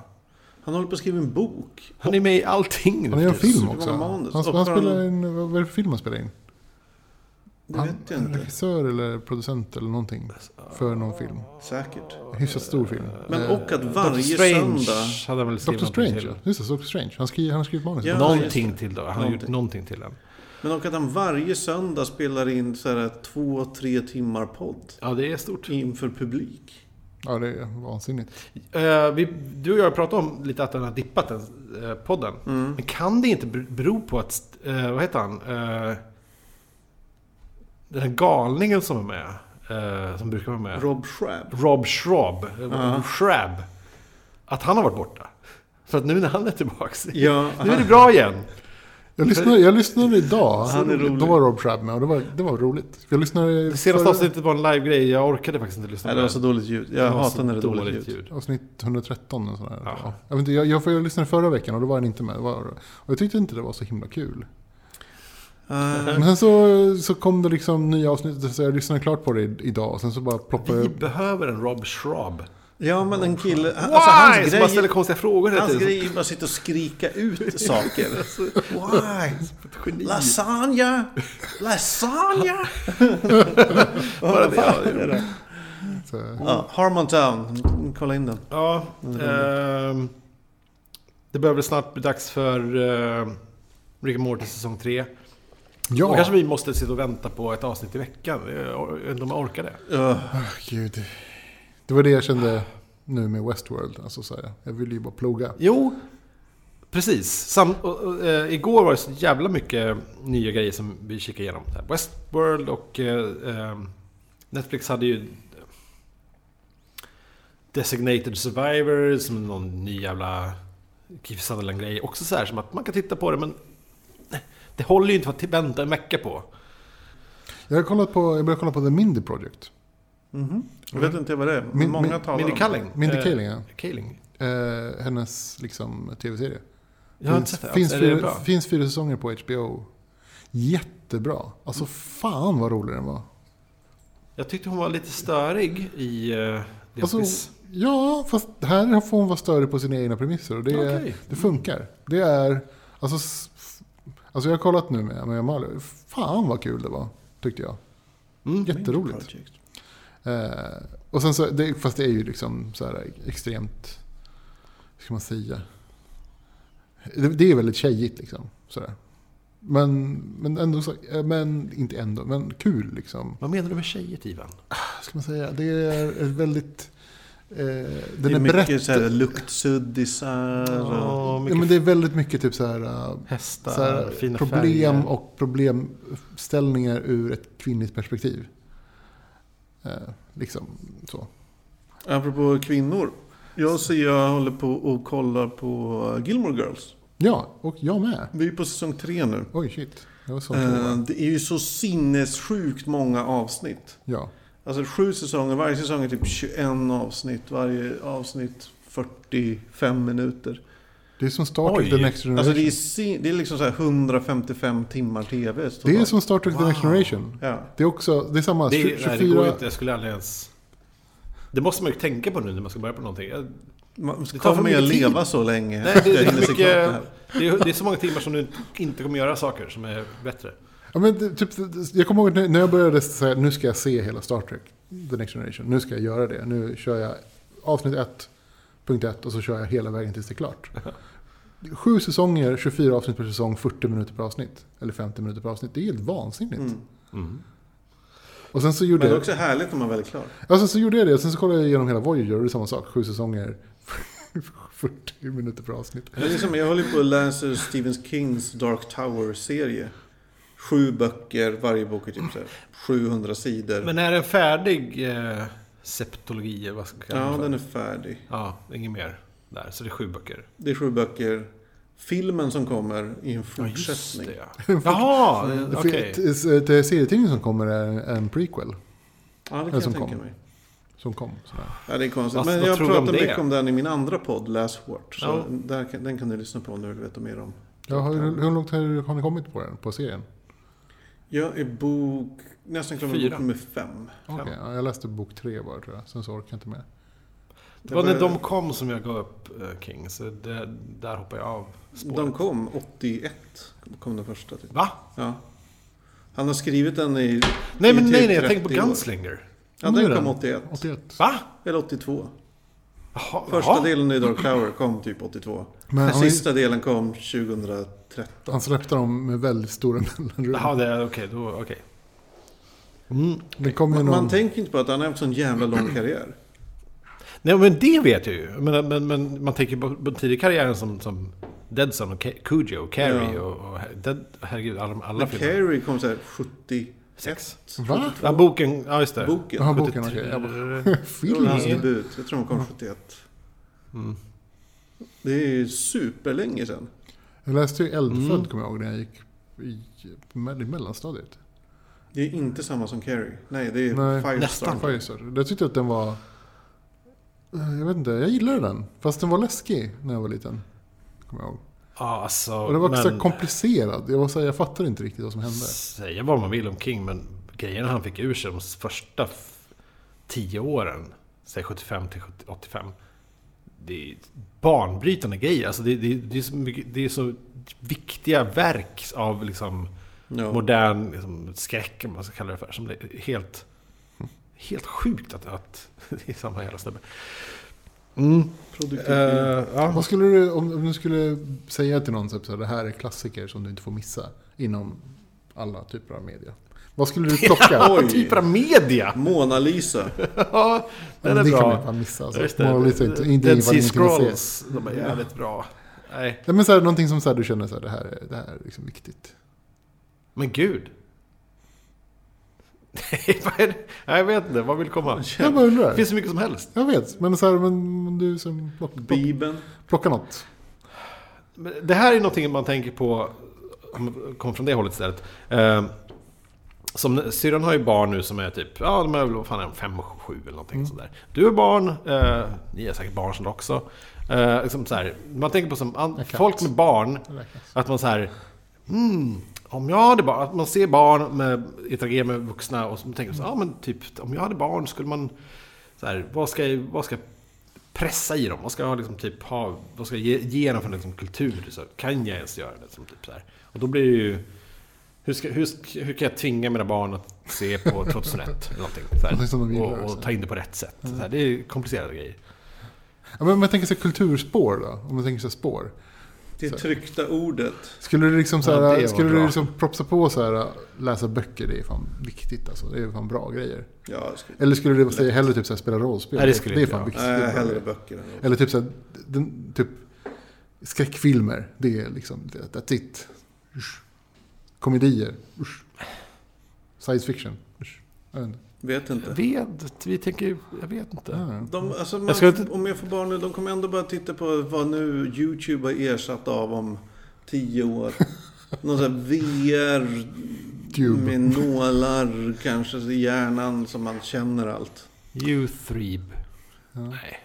Han håller på att skriva en bok.
Han är med i allting nu.
han gör en
för tiden.
film
det var
också. Han,
manus.
han
Och han-
spelar en, vad är det för film han spelar in?
Det
Han,
vet jag
en
inte.
regissör eller producent eller någonting. För någon film.
Säkert.
Hyfsat stor film.
Men
Eh,
och att
Dr.
varje
Strange
söndag...
hade han väl skrivit
Doctor
någonting
Strange,
till.
ja. just det, Doctor Strange. Han, skri, han har skrivit manus.
Ja.
Någonting
just
till då. Han har
Någonting.
gjort någonting till den.
Men och att han varje söndag spelar in så här, två, tre timmar podd.
Ja, det är stort.
Inför publik.
Ja, det är vansinnigt.
Eh, vi, du och jag har pratat om lite att den har dippat den eh, podden.
Mm.
Men kan det inte ber- bero på att, st- eh, vad heter han? Eh, den här galningen som är med. eh, som brukar vara med. Rob,
Rob Schrab.
Schraub. eh, Schrab. Att han har varit borta. För att nu när han är tillbaks.
Ja,
Nu är det bra igen.
Jag lyssnade, jag lyssnade idag.
Han är rolig.
Då var Rob Schrab med och det var, det var roligt. Jag lyssnade
Det senaste
förra-
avsnittet var en livegrej. Jag orkade faktiskt inte lyssna
Nej, det var så Alltså, dåligt ljud. Jag
Det var så
hatar när det är dåligt, ljud.
Avsnitt 113 och sådär.
Ja.
Ja. Jag, vet inte, jag, jag, jag lyssnade förra veckan och då var han inte med. Det Var, och jag tyckte inte det var så himla kul.
Eh,
Men sen så, så kom det liksom nya avsnitt så jag lyssnade klart på det i- idag och sen så bara ploppade
Vi
jag...
behöver en Rob Schraub.
ja, men en kille...
Why?
Alltså, hans
som bara ställer
grej,
konstiga frågor hela
hans
tiden.
grej är bara att sitta och skrika
[LAUGHS]
ut saker. Why?
Ett geni.
Lasagna!
[LAUGHS]
Lasagna!
Bara det, ja, det är roligt.
Så,
Ja, Harmontown. Kolla in den.
Ja, ehm, det börjar väl snart bli dags för eh, Rick and Morty säsong 3. Då
ja,
kanske vi måste sitta och vänta på ett avsnitt i veckan. Jag or- jag vet inte om jag orkar det.
Öh,
gud. Det var det jag kände nu med Westworld. Alltså, så här, jag ville ju bara ploga.
Jo, precis. Sam, och, och, eh, igår var det så jävla mycket nya grejer som vi kikade igenom. Det här Westworld och eh, ehm, Netflix hade ju Designated Survivor som någon ny jävla Keith Sutherland-grej. Också så här som att man kan titta på det men det håller ju inte för att vänta en vecka på.
Jag har kollat på, jag började kolla på The Mindy Project.
jag vet inte vad det är.
min-
Många talar
Mindy
om det.
Kaling.
Mindy
eh,
Kaling, ja.
Kaling.
Eh, hennes liksom, tv-serie.
Jag har inte sett
finns,
det.
finns,
Är det
fyra,
bra?
finns fyra säsonger på HBO. Jättebra. Alltså fan vad rolig den var.
Jag tyckte hon var lite störig i uh, The
Alltså,
Office.
ja, fast här får hon vara större på sina egna premisser och det,
Okej.
det funkar. Det är, alltså, s- alltså jag har kollat nu med, med Amalia. Fan vad kul det var, tyckte jag.
Mm.
Jätteroligt.
Project.
Eh, och sen så, det, fast det är ju liksom så här extremt, hur ska man säga? Det, det är väldigt tjejigt liksom. Så där. Men, men ändå, så, eh, men inte ändå, men kul liksom.
Vad menar du med tjejer, Ivan?
Vad ska man säga? Det är ett väldigt, eh,
Det
den
är,
är,
mycket
brett.
så här luktsuddisar och...
Ja,
Ja,
mycket
men det är väldigt mycket typ så här, eh,
hästar,
så här
fina
problem
färger.
och problemställningar ur ett kvinnligt perspektiv. Eh, liksom så.
Apropå kvinnor. Jag ser jag håller på och kollar på Gilmore Girls.
Ja, och jag med.
Vi är på säsong tre nu.
Oj, shit. Jag var sån
Eh,
tvåa.
Det är ju så sinnessjukt många avsnitt.
Ja.
Alltså sju säsonger, varje säsong är typ 21 avsnitt. Varje avsnitt 45 minuter.
Det är som Star Trek
Oj.
The Next Generation.
Alltså det
det,
är,
är...
sin- det är liksom så här 155 timmar TV. totalt.
som Star Trek The Next Generation.
Ja.
Det är också, det är samma.
Det, är-
24...
nej, det går ju inte. Jag skulle aldrig ens... Det måste man ju tänka på nu när man ska börja på någonting. Jag,
Man ska
Det tar
ta
för
med att
mycket tid.
leva så länge.
nej, det,
Jag
det, är
hinner
mycket,
se klart det här.
det, är, det är så många timmar som du inte kommer göra saker som är bättre.
Ja, men det, typ, det- jag kommer ihåg när- när jag började säga nu ska jag se hela Star Trek The Next Generation. Nu ska jag göra det. Nu kör jag avsnitt 1, punkt 1 och så kör jag hela vägen tills det är klart. Sju säsonger, 24 avsnitt per säsong, 40 minuter per avsnitt. Eller 50 minuter per avsnitt. Det är helt vansinnigt. Och sen så gjorde
Men det är
jag...
också härligt när man väl är klar.
Alltså så gjorde jag det, sen så kollade jag igenom hela Voyager och det är samma sak. Sju säsonger, [LAUGHS] 40 minuter per avsnitt.
Det är som, jag håller på och läser Stephen Kings Dark Tower-serie. sju böcker, varje bok är typ så här 700 sidor.
Men är den färdig eh, septologi? eller Vad ska jag kalla
ja,
för?
den är färdig.
Ja, inget mer där. Så det är sju böcker.
Det är sju böcker. Filmen som kommer i en
Ja, just
fortsättning.
det ja. Jaha, eh,
För
okej.
t- t- Serietidningen som kommer är en- en prequel.
Ja, det kan
Den
jag
som
tänka
kom.
mig.
Som kom. Sådär.
Ja, det är konstigt.
Vad-
Men
vad
jag
tror du om
pratar
det?
mycket om den i min andra podd, Läs hårt. Så
Ja.
där, kan- den kan du lyssna på om du vill veta mer om.
Ja, har, hur långt har, har ni kommit på den? På serien?
Jag är bok, nästan klar med
Fyra.
bok nummer fem.
Okej, ja, jag läste bok tre bara tror jag. Sen så orkar jag inte mer.
Det var när de kom som jag gav upp eh, King. Så det, där hoppade jag av spåret.
De kom 81, kom den första. Typ.
Va?
Ja. Han har skrivit den i
Nej, men
i
nej, nej. Jag
30
tänker på
typ år.
Gunslinger.
Ja,
Nu är
den kom 81.
81.
Va?
Eller 82.
Jaha,
Första
jaha.
delen i Dark Tower kom typ 82.
Men
Den
har ni-
sista delen kom 2013.
Han släppte dem med väldigt stora [LAUGHS] mellanrum.
Jaha, det är okej. då, okej.
det kom ju
Man,
någon...
man tänker inte på att han har haft sån jävla lång
[CLEARS THROAT]
karriär.
Nej, men det vet jag ju. Men, men, men man tänker på på den tidiga karriären som, som Deadson och Ke- Cujo och Carrie
Ja.
och, och Dead, herregud, alla, alla
Men
filmer.
Carrie kom såhär 76.
Sex.
Va?
Ja, boken, ja just det.
Boken.
Jaha, boken.
73.
okej. Jag
Det var hans
Filmen?
debut. Jag tror hon kom 71.
Mm.
Det är ju superlänge sedan.
Jag läste ju Eldfödd kommer jag ihåg när jag gick i, i mellanstadiet.
Det är inte samma som Carrie. Nej, det är
Nej.
Firestar.
Nästan.
Firestar. Jag tyckte att den var... Eh, Jag vet inte, jag gillade den. Fast den var läskig när jag var liten. Kommer jag ihåg.
Ja, alltså,
Och den var också
men-
komplicerad. Jag, var så här, jag fattade inte riktigt vad som hände.
Säga vad man vill om King, men grejerna han fick ur sig de första f- tio åren, säg 75 till 70 85, det är banbrytande grejer. Alltså det, det, det, är så mycket, det är så viktiga verk av liksom
Ja.
modern liksom, skräck, om man ska kalla det för, som det är helt, helt sjukt att, att [LAUGHS] det är samma jävla snubbe. Mm.
Produktivt.
Eh, ja.
Vad skulle du, om, om du skulle säga till någon typ, så här, det här är klassiker som du inte får missa inom alla typer av media.
[LAUGHS]
Vad skulle du plocka?
Oj.
Vad typer av media! [LAUGHS]
Mona Lisa.
Ja,
Men
den är
det
bra.
kan man fan missa. Alltså.
Ja, just det.
Mona Lisa är inte, inte
Dead
vad
Sea
den inte vill se.
Scrolls, de är jävligt bra. Nej.
Nej, men så här, någonting som så här, du känner så här, det här, är- det här är liksom viktigt.
Men gud. [LAUGHS] Nej, vad är det? Nej, jag vet inte. Vad vill komma?
Jag bara undrar.
Det finns så mycket som helst.
Jag vet, men så här, men du som plock, plock,
Bibeln.
plocka något.
Men Det här är någonting man tänker på, om man kommer från det hållet istället. Eh, som, syrran har ju barn nu som är typ, ja de är väl vad fan är de, fem och sju eller någonting
Mm.
sådär. Du är barn, eh, ni är säkert barn sen också. Eh, liksom så här, man tänker på som an-
kan
folk
inte.
med barn, att man så här, mm, om jag hade barn, att man ser barn med, interagerar med vuxna och så tänker man så här, ja men typ, om jag hade barn skulle man, så här, vad ska jag, vad ska jag pressa i dem? Vad ska jag liksom typ ha, vad ska jag ge, ge dem för liksom kultur? Så, här, kan jag ens göra det? Som typ så här. Och då blir det ju, hur, ska, hur, ska, hur kan jag tvinga mina barn att se på 2001? eller någonting, så
Någonting som de
här, Mm.
gillar,
och,
så här.
och ta in det på rätt sätt. Så här, det är komplicerade grejer.
Ja, men om jag tänker så här, kulturspår då, om jag tänker så här, spår.
[LAUGHS]
Det tryckta ordet.
Skulle du liksom så
Ja,
här,
det var
skulle du
bra.
liksom propsa på så här, läsa böcker, det är fan viktigt alltså. Det är fan bra grejer.
Ja, jag skulle...
Eller skulle du säga hellre typ så här, spela rollspel?
Nej, det skulle
är
inte
fan
jag.
viktigt.
Nej,
bra
hellre
grejer.
böcker än ord.
Eller typ så här, den, typ skräckfilmer, det är liksom, det- that's it. Usch. Komedier, usch. Science fiction, usch. Jag vet inte. Ah,
Vet inte.
Jag vet, vi tänker ju- jag vet inte.
De, alltså man,
Jag ska inte-
Om jag får barn nu, de kommer ändå bara titta på vad nu YouTube har ersatt av om tio år. Någon sån här VR
Tube.
med nålar kanske i hjärnan som man känner allt.
Youthreeb. Nej.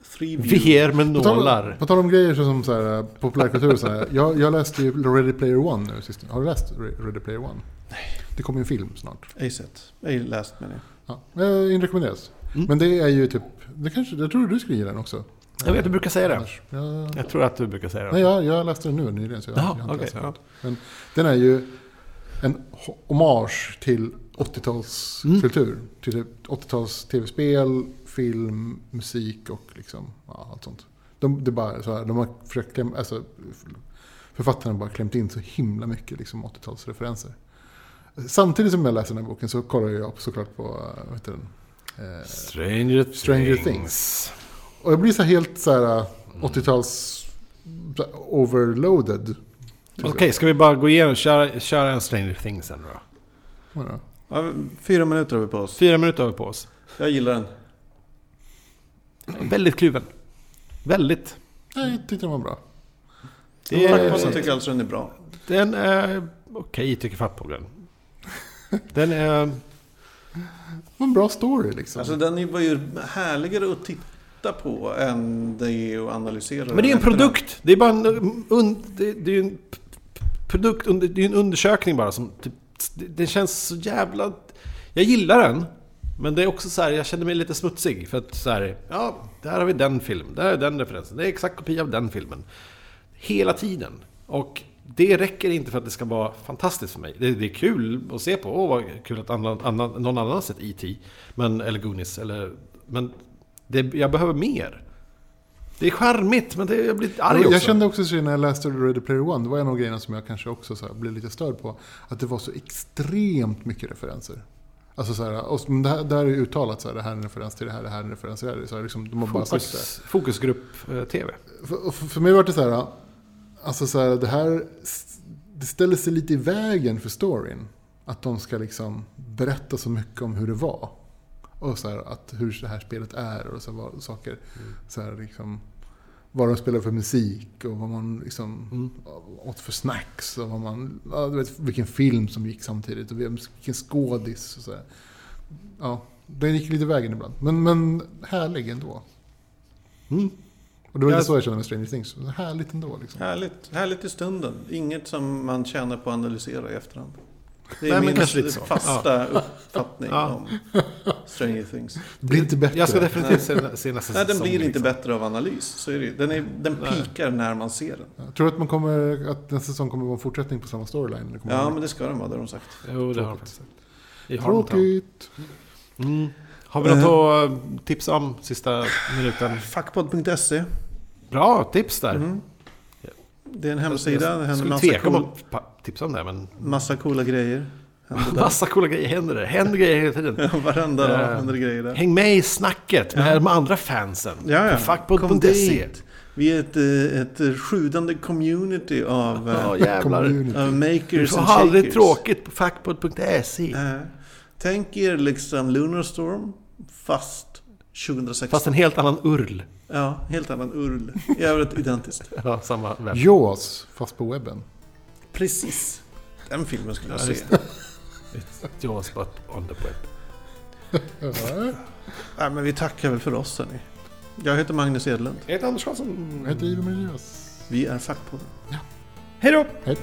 Free view.
VR med
På tal,
nålar.
på tal om grejer så- som så här, eh, populärkultur och så här. Jag, jag läste ju Ready Player One nu sist. Har du läst Re- Ready Player One? Nej. Det kommer ju en film snart.
Ej sett. Ej läst menar jag.
Ja, eh, inte rekommenderas.
Mm.
Men det är ju typ, det kanske, jag tror du skulle gilla den också.
Jag vet, du brukar säga det.
Annars, jag,
Jag tror att du brukar säga det.
nej, jag, jag läste den nu nyligen så jag,
Jaha,
jag har inte
okej,
läst den.
ja.
Men den är ju en ho- hommage till 80-talskultur.
Mm.
Till typ 80-tals tv-spel, film, musik och liksom, ja, allt sånt. De, det är bara så här, de har försökt kläm, alltså, författarna har bara klämt in så himla mycket liksom, 80-talsreferenser. Samtidigt som jag läser den här boken så kollar jag såklart på, eh, vad heter den? Eh,
Stranger,
Stranger
Things.
Things. eh,
Mm.
Och jag blir så här helt så här 80-tals så här, overloaded
Okej, ska vi bara gå igenom och köra, köra en Stranger Things sen då?
Vadå?
Ja, fyra minuter har vi på oss.
Fyra minuter har vi på oss.
Jag gillar den.
Väldigt kluven. Väldigt.
Nej, jag tyckte den var bra.
Det är,
Fackpodden tycker alltså den är bra.
den är okej, tycker Fattpodden. Den är...
Det var en bra story liksom.
Alltså den var ju härligare att titta på än det är att analysera.
Men det är en
den efteråt.
produkt. Det är bara en... Un, det, det är ju en p- p- produkt. under- Det är ju en undersökning bara som... Typ, det, det känns så jävla... Jag gillar den. Men det är också så här, jag känner mig lite smutsig. För att så här, ja, där har vi den film. Där är den referensen. Det är exakt kopia av den filmen. Hela tiden. Och det räcker inte för att det ska vara fantastiskt för mig. Det, det är kul att se på. Åh, vad kul att annan, annan, någon annan har sett E.T. Men, eller Goonies. Eller, men det, jag behöver mer. Det är charmigt, men det, jag blir arg också.
jag kände också så när jag läste Ready Player One, det var en av grejerna som jag kanske också så här, blev lite störd på. Att det var så extremt mycket referenser. Alltså så här, och, men det här, där är ju uttalat så här, det här är en referens till det här, det här är en referens till det här. Så här liksom, de har bara sagt det.
Fokus, eh, fokusgrupp-tv.
För, och för för mig var det så här, alltså så här, det här det ställer sig lite i vägen för storyn. Att de ska liksom berätta så mycket om hur det var. Och så här, att hur det här spelet är och så här, vad, saker.
Mm.
Så här, liksom, vad de spelar för musik och vad man liksom
Mm.
åt för snacks. Och vad man, ja, du vet, vilken film som gick samtidigt och vem- vilken skådis. Och så här. Ja, den gick lite i vägen ibland. Men, men härlig ändå.
Mm.
Och det var
Jag-
lite så jag kände med Stranger Things. Så Härligt ändå liksom.
Härligt. Härligt i stunden. Inget som man tjänar på att analysera i efterhand. Det är
Nej, men
min
kanske lite så.
fasta uppfattning
Ja.
om Stranger Things.
Det blir inte bättre.
Jag ska definitivt se, se nästa
Nej, den
säsong,
blir inte
liksom.
bättre av analys. Så är det. ju. Den, är, den pikar när man ser
Mm.
den.
Tror du att, man kommer, att nästa säsong kommer vara en fortsättning på samma storyline? Eller kommer
Ja,
det-
men det ska den vara, det har de sagt.
Jo, det har de faktiskt. I Harmtown.
Tråkigt.
Mm. Har vi något att eh, tipsa om sista minuten?
Fackpodd.se.
Bra tips där.
Det är en hemsida. Mm-hmm. Det
Jag
händer
skulle
massa,
tveka om
cool,
att pa- tipsa om det, här, men...
massa coola grejer. Händer där.
Massa coola grejer händer där. Händer grejer hela tiden.
Varenda dag
Eh,
händer det grejer där.
Häng med i snacket med de andra fansen.
Ja, ja.
På Fuckpod.se.
dit. Vi är ett, eh, ett sjudande community av, eh,
Ja, jävlar.
Community.
av
Du
makers
får
and
aldrig
shakers.
tråkigt på Fuckpod.se.
Eh, Tänk er liksom Lunar Storm fast 2016.
Fast en helt annan url. [LAUGHS]
Ja, helt annan url. I övrigt identiskt.
Ja, samma vän.
Jaws, fast på webben.
Precis. Den filmen skulle jag
Ja,
se.
just Jaws but on the web.
Nej, men vi tackar väl för oss hörni. Jag heter Magnus Edlund.
Jag heter Anders Karlsson.
Jag heter Ivo Milius.
Vi är Fackpodden.
Hej då!
Hej.